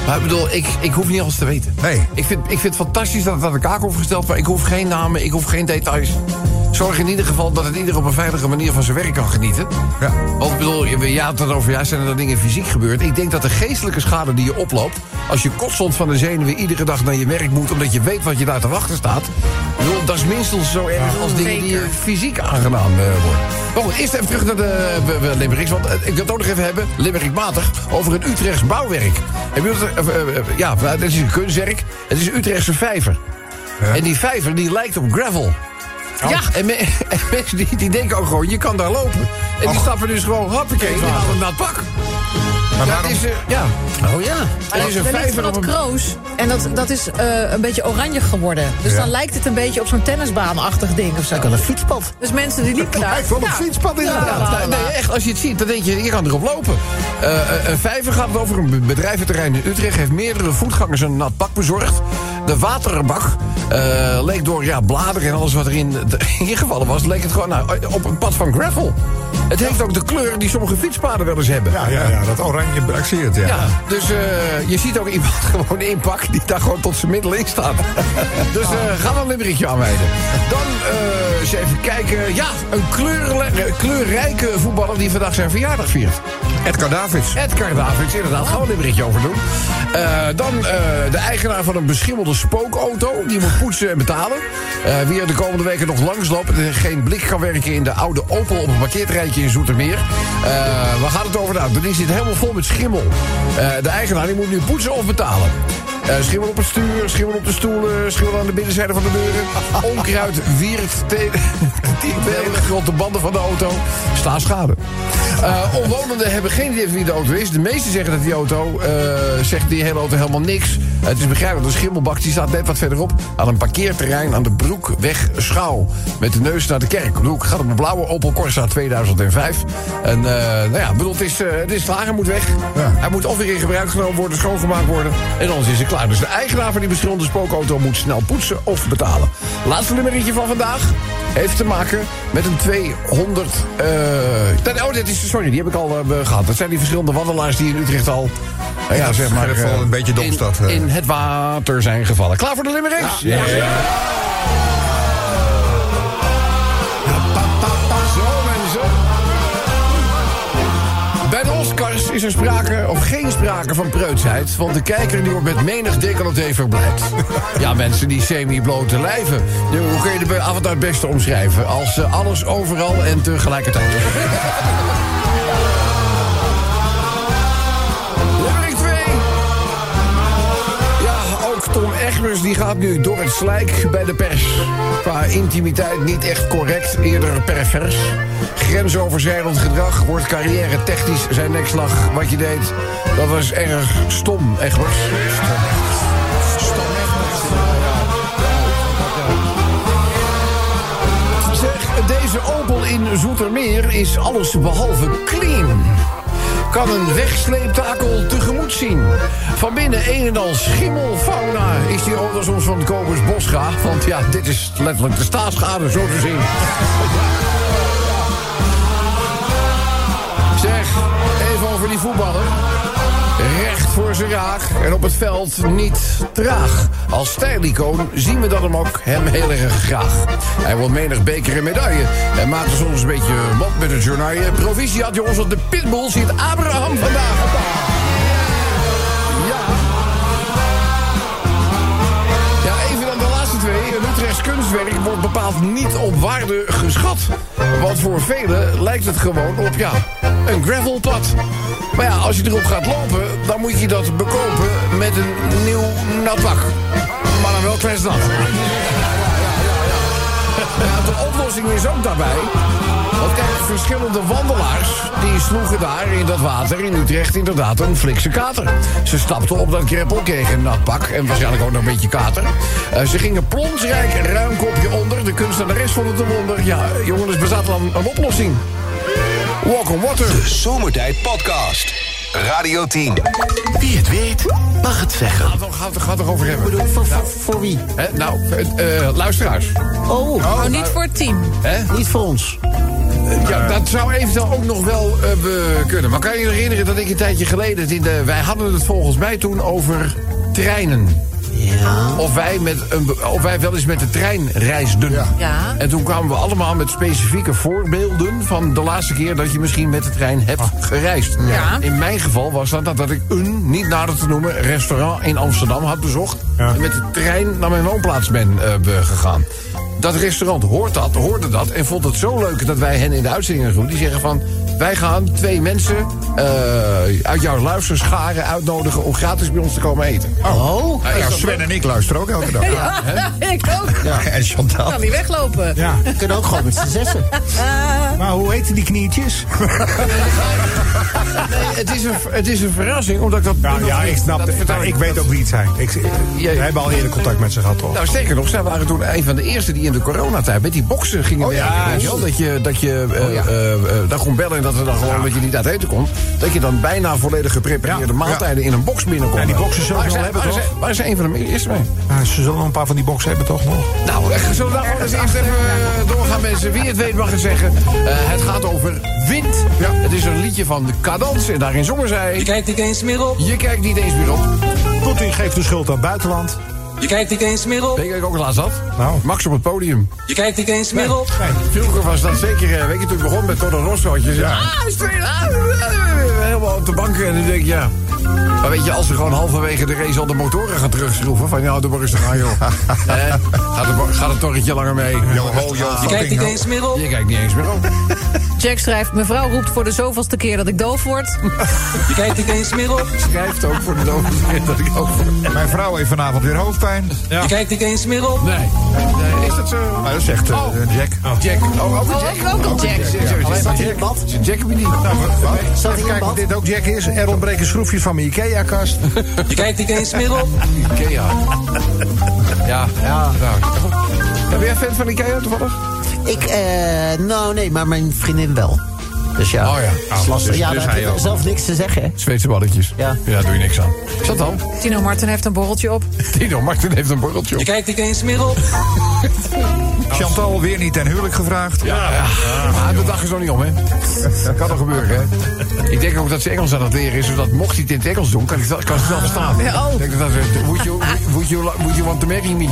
[SPEAKER 3] Maar ik bedoel, ik, ik hoef niet alles te weten.
[SPEAKER 5] Nee.
[SPEAKER 3] Ik vind, ik vind het fantastisch dat het aan de kaak wordt gesteld... maar ik hoef geen namen, ik hoef geen details. Zorg in ieder geval dat het ieder op een veilige manier van zijn werk kan genieten.
[SPEAKER 5] Ja.
[SPEAKER 3] Want ik bedoel, je ja, het over ja, zijn er dan dingen fysiek gebeurd. Ik denk dat de geestelijke schade die je oploopt... als je constant van de zenuwen iedere dag naar je werk moet... omdat je weet wat je daar te wachten staat... ik bedoel, dat is minstens zo erg als dingen die je fysiek aangedaan eh, worden. Maar goed, eerst even terug naar de we- we- Limericks. Want eh, ik wil het ook nog even hebben, Limerickmatig... over het Utrechts bouwwerk. Heb je dat, eh, eh, eh, ja, nou, dit is een kunstwerk. Het is een Utrechtse vijver. En die vijver die lijkt op gravel. Ja, en, me- en mensen die, die denken ook gewoon, je kan daar lopen. En die stappen dus gewoon, hoppakee, die halen naar het nou, pak.
[SPEAKER 5] Maar
[SPEAKER 3] Ja,
[SPEAKER 5] waarom?
[SPEAKER 3] het is, eh, ja. Oh ja.
[SPEAKER 8] Er
[SPEAKER 3] Er is een
[SPEAKER 8] ligt
[SPEAKER 3] vijver
[SPEAKER 8] van
[SPEAKER 3] op
[SPEAKER 8] dat
[SPEAKER 3] een...
[SPEAKER 8] kroos en dat, dat is eh, een beetje oranje geworden. Dus
[SPEAKER 3] Ja.
[SPEAKER 8] dan lijkt het een beetje op zo'n tennisbaanachtig ding of zo.
[SPEAKER 3] Kan een fietspad.
[SPEAKER 8] Dus mensen die liepen daar...
[SPEAKER 3] Lijkt wel een
[SPEAKER 8] Ja.
[SPEAKER 3] fietspad
[SPEAKER 8] Ja, la, la,
[SPEAKER 3] inderdaad.
[SPEAKER 8] la.
[SPEAKER 3] nou, Nee, echt, als je het ziet, dan denk je, je kan erop lopen. Eh, een vijver gaat over een be- bedrijventerrein in Utrecht... heeft meerdere voetgangers een nat pak bezorgd. De waterbak eh, leek door ja, bladeren en alles wat erin ingevallen was... leek het gewoon nou, op een pad van gravel. Het heeft ook de kleur die sommige fietspaden wel eens hebben.
[SPEAKER 5] Ja, ja, ja, dat oranje braxeert, ja.
[SPEAKER 3] Ja, dus eh, je ziet ook iemand gewoon in pak die daar gewoon tot zijn middel in staat. dus eh, ga dan een limerickje aanwijden. Dan eh, eens even kijken. Ja, een kleurle- eh, kleurrijke voetballer die vandaag zijn verjaardag viert.
[SPEAKER 5] Edgar Davids.
[SPEAKER 3] Edgar Davids, inderdaad. Gaan we een limerickje over doen. Eh, dan eh, de eigenaar van een beschimmelde spookauto. Die moet poetsen en betalen. Eh, wie er de komende weken nog langsloopt... en geen blik kan werken in de oude Opel op een parkeerterreintje in Zoetermeer. Eh waar gaat het over? Nou, dan is dit helemaal vol met schimmel. Eh, de eigenaar die moet nu poetsen of betalen. Eh, schimmel op het stuur, schimmel op de stoelen, schimmel aan de binnenzijde van de deuren. Onkruid wiert te- tienbelig rond de banden van de auto. Sta schade. Eh, omwonenden hebben geen idee van wie de auto is. De meesten zeggen dat die auto, eh, zegt die hele auto helemaal niks. Het is begrijpelijk, de schimmelbak die staat net wat verderop... aan een parkeerterrein aan de Broekweg Schouw. Met de neus naar de kerk. Ik bedoel, het gaat om een blauwe Opel Corsa 2005. En eh, nou ja, ik bedoel, het is, eh, het is klaar, hij moet weg. Hij moet of weer in gebruik genomen worden, schoongemaakt worden. En anders is het klaar. Dus de eigenaar van die verschillende spookauto moet snel poetsen of betalen. Laatste nummertje van vandaag heeft te maken met een 200... eh, dat- oh, dit is, sorry, die heb ik al eh, gehad. Dat zijn die verschillende wandelaars die in Utrecht al... eh, ja, zeg maar...
[SPEAKER 5] Scherpvol,
[SPEAKER 3] eh,
[SPEAKER 5] een beetje Domstad,
[SPEAKER 3] In,
[SPEAKER 5] eh.
[SPEAKER 3] in het water zijn gevallen. Klaar voor de limericks? Ja. Zo, mensen. Bij de Oscars is er sprake of geen sprake van preutsheid... want de kijker die wordt met menig decolleté verblijd. Ja, mensen die semi-blote lijven. Ja, Hoe kun je de avond het beste omschrijven? Als eh, alles overal en tegelijkertijd. Nummer 2. Ja, ook Tom Egbers die gaat nu door het slijk bij de pers. Qua intimiteit niet echt correct, eerder pervers. Grensoverschrijdend gedrag wordt carrière technisch zijn nekslag. Wat je deed, dat was erg stom, Egbers. Zeg, deze Opel in Zoetermeer is alles behalve clean. Kan een wegsleeptakel tegemoet zien. Van binnen een en al schimmelfauna is die auto soms van Kobus Boscha. Want ja, dit is letterlijk de staatsschade, zo te zien. Zeg, even over die voetballer. Recht voor zijn raag en op het veld niet traag. Als stijlicoon zien we dan hem ook hem heel erg graag. Hij wil menig beker en medaille. En maakt er soms een beetje wat met het journaille. Proficiat jongens, want de pitbull ziet Abraham vandaag. Ja. Ja, even dan de laatste twee. Een Utrechts kunstwerk wordt bepaald niet op waarde geschat. Want voor velen lijkt het gewoon op, ja, een gravelpad. Maar ja, als je erop gaat lopen, dan moet je dat bekopen met een nieuw natpak. Maar dan wel kletsnat. Ja, de oplossing is ook daarbij. Want kijk, verschillende wandelaars die sloegen daar in dat water in Utrecht inderdaad een flikse kater. Ze stapten op dat kreppel, kregen een nat pak en waarschijnlijk ook nog een beetje kater. Eh, ze gingen plonsrijk een ruim kopje onder. De kunstenares vond het een wonder. Ja, jongens, bestaat dan een oplossing. Walk on water.
[SPEAKER 1] De Zomertijd Podcast. Radio 10.
[SPEAKER 2] Wie het weet, mag het zeggen.
[SPEAKER 3] Gaat toch- Gaat toch- gaat toch over hebben?
[SPEAKER 7] bedoel, voor, voor, voor wie?
[SPEAKER 3] Hè, nou, eh, eh, luisteraars.
[SPEAKER 7] Oh,
[SPEAKER 8] Oh, niet voor het team.
[SPEAKER 3] Hè?
[SPEAKER 7] niet voor ons.
[SPEAKER 3] Eh, Ja, dat zou eventueel ook nog wel eh, we- kunnen. Maar kan je je herinneren dat ik een tijdje geleden... het in de- wij hadden het volgens mij toen over treinen.
[SPEAKER 7] Ja.
[SPEAKER 3] Of wij, met een, be- of wij wel eens met de trein reisden.
[SPEAKER 8] Ja.
[SPEAKER 3] En toen kwamen we allemaal met specifieke voorbeelden... van de laatste keer dat je misschien met de trein hebt gereisd.
[SPEAKER 8] Ah. Ja.
[SPEAKER 3] In mijn geval was dat dat ik een, niet nader te noemen... restaurant in Amsterdam had bezocht...
[SPEAKER 4] Ja.
[SPEAKER 3] en met de trein naar mijn woonplaats ben eh, be- gegaan. Dat restaurant hoort dat, hoorde dat en vond het zo leuk dat wij hen in de uitzending hebben. Die zeggen van, Wij gaan twee mensen eh, uit jouw luisterscharen uitnodigen om gratis bij ons te komen eten.
[SPEAKER 5] Oh, Nou ja, Sven en ik luisteren ook elke dag.
[SPEAKER 8] Ja, ik ook.
[SPEAKER 5] En
[SPEAKER 8] Ik
[SPEAKER 5] Chantal.
[SPEAKER 8] kan niet weglopen.
[SPEAKER 4] Ja.
[SPEAKER 7] kunnen ook gewoon met z'n zessen.
[SPEAKER 4] Maar hoe heten die knietjes?
[SPEAKER 3] Nee, Eh, het is, een, het is een verrassing, omdat ik dat...
[SPEAKER 4] Nou ja, ik snap
[SPEAKER 3] dat
[SPEAKER 4] het.
[SPEAKER 3] vertel
[SPEAKER 4] Maar Ik weet ook wie het zijn. Ik, we hebben al eerder contact met ze gehad, toch?
[SPEAKER 3] Nou, sterker nog, zij waren toen een van de eerste die in de coronatijd met die boksen gingen
[SPEAKER 4] Oh ja, Oh,
[SPEAKER 3] werken, weet je wel? Dat je, dat je eh, eh, eh, daar kon bellen en dat er dan gewoon dat je niet uit eten kon. Dat je dan bijna volledig geprepareerde
[SPEAKER 4] Ja,
[SPEAKER 3] maaltijden in een box binnenkomt.
[SPEAKER 4] Ja, die boksen zullen we wel hebben,
[SPEAKER 3] waar,
[SPEAKER 4] toch?
[SPEAKER 3] zijn, waar zijn een van de eerste mee?
[SPEAKER 4] Ah, ze zullen nog een paar van die boxen hebben, toch nog?
[SPEAKER 3] Nou,
[SPEAKER 4] eh,
[SPEAKER 3] echt, zullen we daar gewoon eens eerst even eh, doorgaan, mensen? Wie het weet mag het zeggen. Eh, het gaat over wind. Het is een liedje van de Cadans en daarin zongen
[SPEAKER 9] Je
[SPEAKER 3] zij...
[SPEAKER 9] kijkt niet eens meer op.
[SPEAKER 3] Je kijkt niet eens meer op.
[SPEAKER 4] Poetin geeft de schuld aan het buitenland.
[SPEAKER 9] Je kijkt niet eens meer op.
[SPEAKER 3] Denk ik ook laatst had.
[SPEAKER 4] Nou.
[SPEAKER 3] Max op het podium.
[SPEAKER 9] Je kijkt niet eens meer op.
[SPEAKER 3] Vroeger was dat zeker, eh, weet je, toen ik begon met Toro Rosso had je zo, ah, spelen, ah, eh, eh, helemaal op de banken. En dan denk ik, ja. Maar weet je, als ze gewoon halverwege de race al de motoren gaan terugschroeven, van ja, doe maar rustig aan, joh. Eh, gaat, de, bo- gaat het torretje langer mee.
[SPEAKER 5] ho, yo,
[SPEAKER 9] Je kijkt niet eens meer op.
[SPEAKER 3] Je kijkt niet eens meer op.
[SPEAKER 8] Jack schrijft, mevrouw roept voor de zoveelste keer dat ik doof word.
[SPEAKER 9] Je kijkt niet eens meer op.
[SPEAKER 3] Schrijft ook voor de dood dat ik ook...
[SPEAKER 5] Mijn vrouw heeft vanavond weer hoofdpijn.
[SPEAKER 9] Je kijkt niet eens meer op.
[SPEAKER 3] Nee. nee. Is dat
[SPEAKER 4] Nou,
[SPEAKER 3] zo?
[SPEAKER 5] Maar dat zegt eh,
[SPEAKER 3] Oh.
[SPEAKER 5] Jack.
[SPEAKER 3] Jack. Oh, ook een Jack.
[SPEAKER 8] ook- ook een Jack.
[SPEAKER 3] Sorry, sorry, sorry. Is een Jack of niet?
[SPEAKER 4] Nou, Zal even kijken of dit ook Jack is. Er ontbreken schroefjes van mijn Ikea-kast.
[SPEAKER 3] Oh.
[SPEAKER 9] Je kijkt niet eens meer op.
[SPEAKER 3] Ikea. Ja. Ja. Ben jij fan van Ikea toevallig?
[SPEAKER 7] Ik, eh, nou nee, maar mijn vriendin wel. Dus ja,
[SPEAKER 3] Oh ja.
[SPEAKER 7] dat is lastig.
[SPEAKER 5] dus-
[SPEAKER 7] ja,
[SPEAKER 5] dus
[SPEAKER 7] daar
[SPEAKER 5] hij
[SPEAKER 7] heb
[SPEAKER 5] ook.
[SPEAKER 7] je zelf niks te zeggen. hè.
[SPEAKER 3] Zweedse balletjes.
[SPEAKER 7] Ja.
[SPEAKER 3] Ja, doe je niks aan. Is dat dan?
[SPEAKER 8] Tino Martin heeft een borreltje op.
[SPEAKER 3] Tino Martin heeft een borreltje
[SPEAKER 9] Je
[SPEAKER 3] op.
[SPEAKER 9] kijkt niet eens meer op.
[SPEAKER 5] Chantal weer niet ten huwelijk gevraagd.
[SPEAKER 3] Ja, ja. Ah, Maar de dag is nog niet om, hè? Dat kan nog gebeuren, hè? Ik denk ook dat ze Engels aan het leren is, zodat mocht hij het in het Engels doen, kan, ik, dat- kan ze het wel verstaan.
[SPEAKER 8] Ja, oh.
[SPEAKER 3] Ik denk dat ze, would you, would, you, would you want to marry me?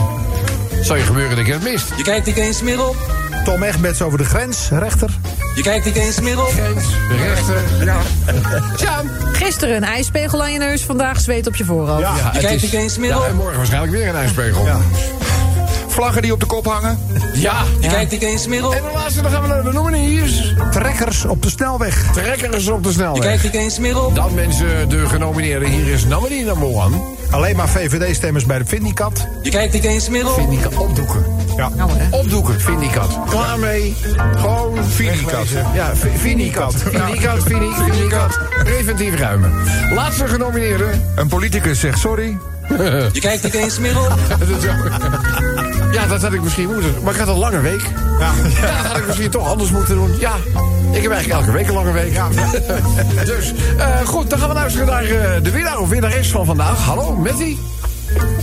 [SPEAKER 3] Zou je gebeuren dat je het mist?
[SPEAKER 9] Je kijkt niet eens meer op.
[SPEAKER 4] Tom Egberts over de grens, rechter.
[SPEAKER 9] Je kijkt niet eens meer op.
[SPEAKER 3] De rechter. Ja. Tjam.
[SPEAKER 8] Gisteren een ijspegel aan je neus, vandaag zweet op je voorhoofd.
[SPEAKER 4] Ja.
[SPEAKER 3] het
[SPEAKER 9] kijkt
[SPEAKER 3] is-
[SPEAKER 9] niet eens meer
[SPEAKER 3] Ja,
[SPEAKER 9] op.
[SPEAKER 3] en morgen waarschijnlijk weer een ijspegel. Ja.
[SPEAKER 5] Vlaggen die op de kop hangen.
[SPEAKER 9] Je kijkt niet eens meer
[SPEAKER 3] En
[SPEAKER 9] op.
[SPEAKER 3] de laatste, dan gaan we naar de noemeniers.
[SPEAKER 4] Trekkers op de snelweg.
[SPEAKER 3] Trekkers op de
[SPEAKER 9] Je
[SPEAKER 3] snelweg.
[SPEAKER 9] kijkt niet eens meer op.
[SPEAKER 3] Dan mensen, de genomineerden. Hier is Namely number one.
[SPEAKER 4] Alleen maar VVD-stemmers bij de Vindicat.
[SPEAKER 9] Je kijkt niet eens meer op.
[SPEAKER 3] Vindicat opdoeken.
[SPEAKER 4] Ja.
[SPEAKER 3] Opdoeken, Vindicat. Klaar mee. Gewoon
[SPEAKER 5] Vindicat.
[SPEAKER 3] Ja, vi- Vindicat. Vindicat, Vindi- Vindicat. Preventief ruimen. Laatste genomineerde.
[SPEAKER 5] Een politicus zegt sorry.
[SPEAKER 9] Je kijkt niet eens meer op.
[SPEAKER 3] Dat is ook- Ja, dat had ik misschien moeten doen. Maar ik had een lange week. Ja. dat had ik misschien toch anders moeten doen. Ja, ik heb eigenlijk elke week een lange week. dus, eh, goed, dan gaan we luisteren naar eh, de winnaar of winnares van vandaag. Hallo, met die?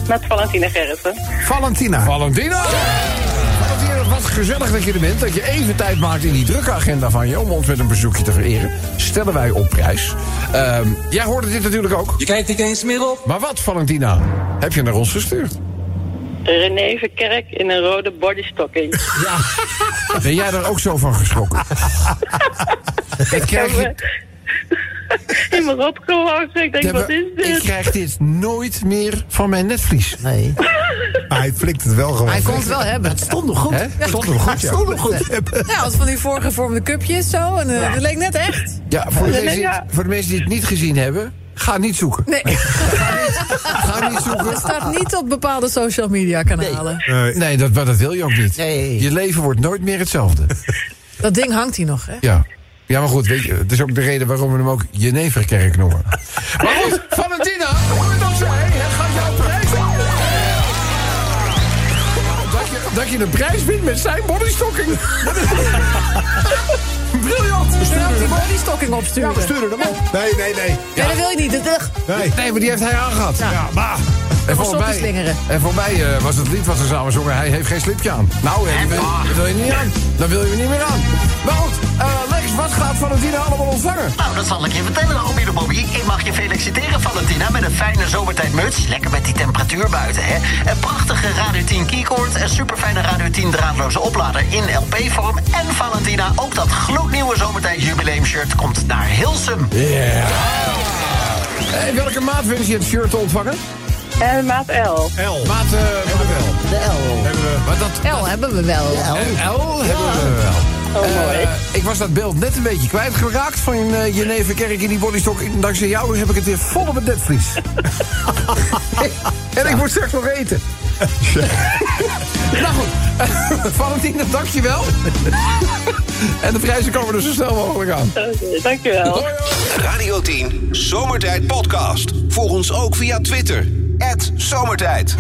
[SPEAKER 11] Met Valentina Gerritsen.
[SPEAKER 4] Valentina.
[SPEAKER 3] Valentina! Valentina, wat gezellig dat je er bent. Dat je even tijd maakt in die drukke agenda van je om ons met een bezoekje te vereren. Stellen wij op prijs. Ehm, jij hoorde dit natuurlijk ook.
[SPEAKER 9] Je kijkt niet eens meer op.
[SPEAKER 3] Maar wat, Valentina? Heb je naar ons gestuurd?
[SPEAKER 11] René Verkerk in een rode bodystocking.
[SPEAKER 3] Ben jij daar ook zo van geschrokken? ik, krijg,
[SPEAKER 11] heb, In mijn rot gewacht. Ik denk, wat is
[SPEAKER 3] ik
[SPEAKER 11] dit?
[SPEAKER 3] krijg dit nooit meer van mijn netvlies.
[SPEAKER 7] Nee.
[SPEAKER 4] Hij flikt het wel gewoon.
[SPEAKER 8] Hij kon het wel hebben.
[SPEAKER 7] Het stond nog goed.
[SPEAKER 3] Hè?
[SPEAKER 4] Stond hem goed, ja.
[SPEAKER 8] Ja, Nou, als van die voorgevormde cupjes zo. En, eh, Dat leek net echt.
[SPEAKER 3] Ja, voor de,
[SPEAKER 11] Ja.
[SPEAKER 3] mensen, die het- voor de mensen die het niet gezien hebben, ga niet zoeken.
[SPEAKER 8] Nee,
[SPEAKER 3] Ga niet zoeken.
[SPEAKER 8] het staat niet op bepaalde social media kanalen.
[SPEAKER 3] Nee, dat, maar dat wil je ook niet.
[SPEAKER 7] Nee.
[SPEAKER 3] Je leven wordt nooit meer hetzelfde.
[SPEAKER 8] Dat ding hangt hier nog, hè?
[SPEAKER 3] Ja. Ja, maar goed, weet je, het is ook de reden waarom we hem ook Jeneverkerk noemen. Maar goed, Valentina, hoe het ook zij, het gaat jouw prijs. Dat je, dat je de prijs wint met zijn bodystocking. Briljant.
[SPEAKER 8] Je moet die bodystocking
[SPEAKER 4] Ja, we
[SPEAKER 8] opsturen.
[SPEAKER 4] sturen hem op. Nee, nee, nee.
[SPEAKER 8] Ja, dat wil je niet. Dat, ugh.
[SPEAKER 4] Nee.
[SPEAKER 3] Nee, maar die heeft hij aangehad.
[SPEAKER 4] Ja, maar.
[SPEAKER 3] En
[SPEAKER 8] Om
[SPEAKER 3] voor
[SPEAKER 8] op te
[SPEAKER 3] mij,
[SPEAKER 8] slingeren.
[SPEAKER 3] en voor mij eh, was het lied wat ze samen zongen. Hij heeft geen slipje aan. Nou, hè, dat wil, dat wil je niet aan. Dan wil je er niet meer aan. Maar goed, eh, Lex, wat gaat Valentina allemaal ontvangen?
[SPEAKER 12] Nou, dat zal ik je vertellen, Robby de Bobby. Ik mag je feliciteren, Valentina, met een fijne zomertijdmuts. Lekker met die temperatuur buiten, hè. Een prachtige Radio 10 keycord, een superfijne Radio 10 draadloze oplader in LP-vorm. En Valentina, ook dat gloednieuwe zomertijd jubileumshirt komt naar Hilsum.
[SPEAKER 3] Eh, in welke maat wens je het shirt te ontvangen?
[SPEAKER 11] En maat L.
[SPEAKER 4] L.
[SPEAKER 3] Maat eh, hebben we wel.
[SPEAKER 7] De L.
[SPEAKER 3] Maar dat,
[SPEAKER 8] L hebben we wel.
[SPEAKER 3] L hebben we wel.
[SPEAKER 11] Oh,
[SPEAKER 3] Eh, ik was dat beeld net een beetje kwijtgeraakt van eh Geneve Kerk in die bodystok. En Dankzij jou heb ik het weer vol op het netvlies. en ik moet straks nog eten. nou goed, Valentina, dankjewel. en de prijzen komen er zo snel mogelijk aan.
[SPEAKER 11] dankjewel.
[SPEAKER 1] Radio 10 Zomertijd Podcast. Volg ons ook via Twitter. Zomertijd.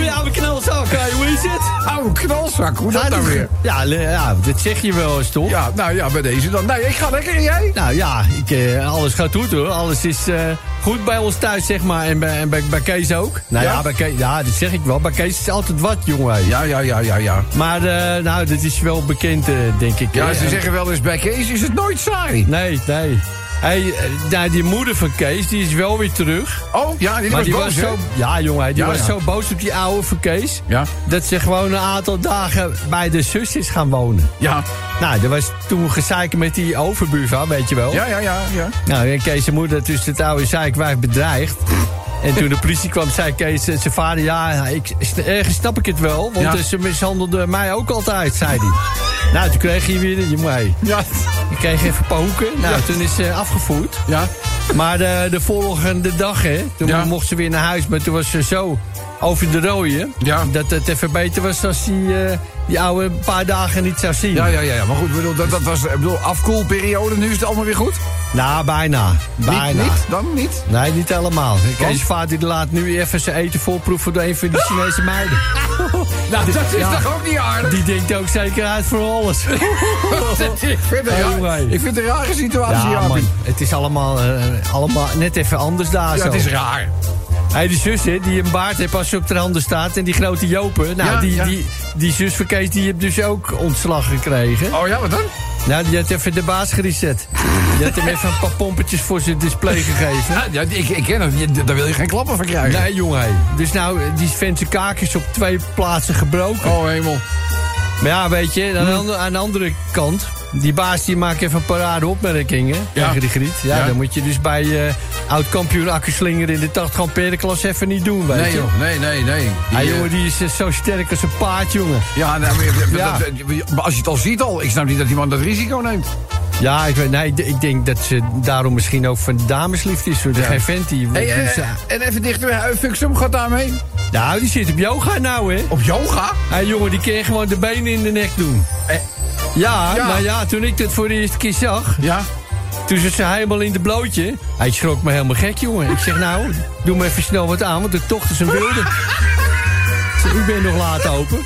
[SPEAKER 13] Ja, we knalzak, eh, hoe is het?
[SPEAKER 3] Oude knalzak, hoe dat nou weer?
[SPEAKER 13] Ja, le- ja, dat zeg je wel eens toch?
[SPEAKER 3] Ja, nou ja, bij deze dan. Nee, ik ga lekker en jij?
[SPEAKER 13] Nou ja, ik, eh, alles gaat goed hoor. Alles is eh, goed bij ons thuis, zeg maar. En bij, en bij, bij Kees ook. Nou ja,
[SPEAKER 3] Ja?
[SPEAKER 13] bij Kees, ja, dat zeg ik wel. Bij Kees is altijd wat, jongen.
[SPEAKER 3] Ja, ja, ja, ja, ja.
[SPEAKER 13] Maar eh, nou, dit is wel bekend, eh, denk ik.
[SPEAKER 3] Ja,
[SPEAKER 13] hè.
[SPEAKER 3] ze
[SPEAKER 13] En-
[SPEAKER 3] zeggen wel eens bij Kees is het nooit saai.
[SPEAKER 13] Nee, nee. Hey, eh, nou, die moeder van Kees, die is wel weer terug.
[SPEAKER 3] Oh, ja, die
[SPEAKER 13] maar
[SPEAKER 3] was
[SPEAKER 13] die
[SPEAKER 3] boos,
[SPEAKER 13] was
[SPEAKER 3] hè?
[SPEAKER 13] zo, Ja, jongen, die
[SPEAKER 3] Ja,
[SPEAKER 13] was
[SPEAKER 3] ja.
[SPEAKER 13] zo boos op die oude van Kees...
[SPEAKER 3] Ja.
[SPEAKER 13] dat ze gewoon een aantal dagen Eh, bij de zus is gaan wonen.
[SPEAKER 3] Ja.
[SPEAKER 13] Nou, dat was toen gezeik met die overbuurvrouw, weet je wel.
[SPEAKER 3] Ja, ja, ja, ja.
[SPEAKER 13] Nou, en Kees' moeder dus het oude zeikwijf bedreigd. En toen de politie kwam, zei Kees eh, zijn vader... ja, ik, ergens snap ik het wel, want
[SPEAKER 3] Ja.
[SPEAKER 13] eh, ze mishandelde mij ook altijd, zei hij. Nou, toen kreeg hij weer... Je mee.
[SPEAKER 3] Ja.
[SPEAKER 13] Ik kreeg even een paar hoeken. Nou, toen is ze afgevoerd.
[SPEAKER 3] Ja.
[SPEAKER 13] Maar de, de volgende dag, hè, toen mocht ze weer naar huis. Maar toen was ze zo over de rode... dat het even beter was als hij eh, die oude een paar dagen niet zou zien.
[SPEAKER 3] Ja, ja, ja, ja. Maar goed, ik bedoel, dat, dat was ik bedoel, afkoelperiode. Nu is het allemaal weer goed.
[SPEAKER 13] Nou, bijna. Bijna.
[SPEAKER 3] Niet, niet? Dan niet?
[SPEAKER 13] Nee, niet helemaal. Kees' vader die laat nu even zijn eten voorproeven door een van die Chinese meiden.
[SPEAKER 3] Nou, dat is
[SPEAKER 13] Ja.
[SPEAKER 3] toch ook niet aardig?
[SPEAKER 13] Die denkt ook zeker uit voor alles.
[SPEAKER 3] Dat is- ik, vind het een raar,
[SPEAKER 13] Anyway.
[SPEAKER 3] ik vind het een rare situatie,
[SPEAKER 13] Ja,
[SPEAKER 3] ja,
[SPEAKER 13] man, het is allemaal, eh, allemaal net even anders daar
[SPEAKER 3] Ja,
[SPEAKER 13] zo.
[SPEAKER 3] het is raar.
[SPEAKER 13] Hey, die zus hè, die een baard heeft als ze op de handen staat en die grote Jopen. Nou,
[SPEAKER 3] Ja,
[SPEAKER 13] die,
[SPEAKER 3] ja.
[SPEAKER 13] Die, die zus van Kees die heeft dus ook ontslag gekregen.
[SPEAKER 3] Oh ja, wat dan?
[SPEAKER 13] Nou, die had even de baas gereset. Die had hem even een paar pompetjes voor zijn display gegeven.
[SPEAKER 3] Ja, ja, ik, ik ken hem. Je- Daar wil je geen klappen van krijgen.
[SPEAKER 13] Nee, jongen. hé. Dus nou, die vent zijn kaak is op twee plaatsen gebroken.
[SPEAKER 3] Oh, hemel.
[SPEAKER 13] Maar ja, weet je, aan
[SPEAKER 3] Hm.
[SPEAKER 13] de, andere- aan de andere kant... Die baas die maakt even een parade opmerkingen
[SPEAKER 3] Ja.
[SPEAKER 13] tegen die griet. Ja,
[SPEAKER 3] Ja.
[SPEAKER 13] dan moet je dus bij eh, oud-kampioen Akkerslinger in de 80 ampère klas even niet doen, weet
[SPEAKER 3] Nee,
[SPEAKER 13] je.
[SPEAKER 3] joh. Nee, nee, nee. Die,
[SPEAKER 13] Hij
[SPEAKER 3] eh,
[SPEAKER 13] jongen, die is eh, zo sterk als een paard, jongen.
[SPEAKER 3] Ja, nou, maar, maar
[SPEAKER 13] Ja.
[SPEAKER 3] dat- maar als je het al ziet al, ik snap niet dat die man dat risico neemt.
[SPEAKER 13] Ja, ik, weet, nee, ik- ik denk dat ze daarom misschien ook van damesliefde is. Hoor. Dat
[SPEAKER 3] Ja.
[SPEAKER 13] Geen vent die...
[SPEAKER 3] Hey,
[SPEAKER 13] die
[SPEAKER 3] eh,
[SPEAKER 13] ze-
[SPEAKER 3] en even dichter bij Huif Fuxum gaat daarmee.
[SPEAKER 13] nou, die zit op yoga nou, hè.
[SPEAKER 3] Op yoga?
[SPEAKER 13] Hé jongen, die kan gewoon de benen in de nek doen. Eh, ja,
[SPEAKER 3] Ja.
[SPEAKER 13] maar ja, toen ik dat voor de eerste keer zag...
[SPEAKER 3] Ja.
[SPEAKER 13] Toen zat ze helemaal in de blootje. Hij schrok me helemaal gek, jongen. Ik zeg, nou, doe me even snel wat aan, want de tocht is een wilde. Ik zeg, U bent nog laat open.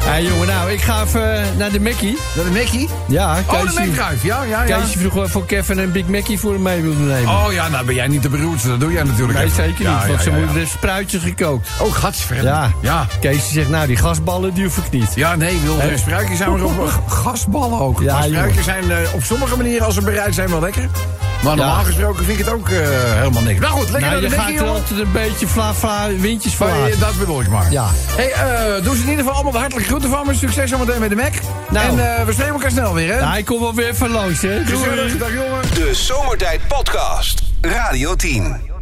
[SPEAKER 13] Hé jongen, nou, ik ga even eh, naar de Mackie.
[SPEAKER 3] Dat is Mickey.
[SPEAKER 13] Ja,
[SPEAKER 3] Oh, de
[SPEAKER 13] Keesje.
[SPEAKER 3] Mekruif. Ja, ja, ja.
[SPEAKER 13] Keesje vroeg wel voor Kevin een Big Mackie voor hem mee wilde nemen.
[SPEAKER 3] Oh ja, nou ben jij niet de beroerdste. Dat doe jij natuurlijk
[SPEAKER 13] nee,
[SPEAKER 3] even.
[SPEAKER 13] zeker niet,
[SPEAKER 3] Ja,
[SPEAKER 13] want
[SPEAKER 3] ja,
[SPEAKER 13] ze
[SPEAKER 3] ja,
[SPEAKER 13] moeten
[SPEAKER 3] ja.
[SPEAKER 13] de spruitjes gekookt.
[SPEAKER 3] Ook gatsverder.
[SPEAKER 13] Ja.
[SPEAKER 3] Ja.
[SPEAKER 13] Keesje zegt, nou, die gasballen, die hoef ik niet.
[SPEAKER 3] Ja, nee, wilde
[SPEAKER 13] Hè?
[SPEAKER 3] spruitjes zijn maar op. Gasballen ook.
[SPEAKER 13] Ja,
[SPEAKER 3] Ja, spruitjes
[SPEAKER 13] joh.
[SPEAKER 3] zijn eh, op sommige manieren, als ze bereid zijn, wel lekker. Maar normaal
[SPEAKER 13] Ja.
[SPEAKER 3] gesproken vind ik het ook eh, helemaal niks. Nou goed, lekker
[SPEAKER 13] nou, je
[SPEAKER 3] naar de
[SPEAKER 13] gaat
[SPEAKER 3] Mickey,
[SPEAKER 13] er
[SPEAKER 3] jongen.
[SPEAKER 13] altijd een beetje fla fla windjes van.
[SPEAKER 3] Maar, eh,
[SPEAKER 13] laten.
[SPEAKER 3] dat bedoel ik maar.
[SPEAKER 13] Ja.
[SPEAKER 3] Hey, eh, doe ze in ieder geval allemaal de hartelijke groeten van me. Succes zometeen met de Mac.
[SPEAKER 13] Nou.
[SPEAKER 3] En eh, we spreken elkaar snel weer, hè?
[SPEAKER 13] Nou, hij komt wel weer even langs, hè? Doei.
[SPEAKER 3] Gezellig, dag jongen.
[SPEAKER 1] De Zomertijd Podcast. Radio 10.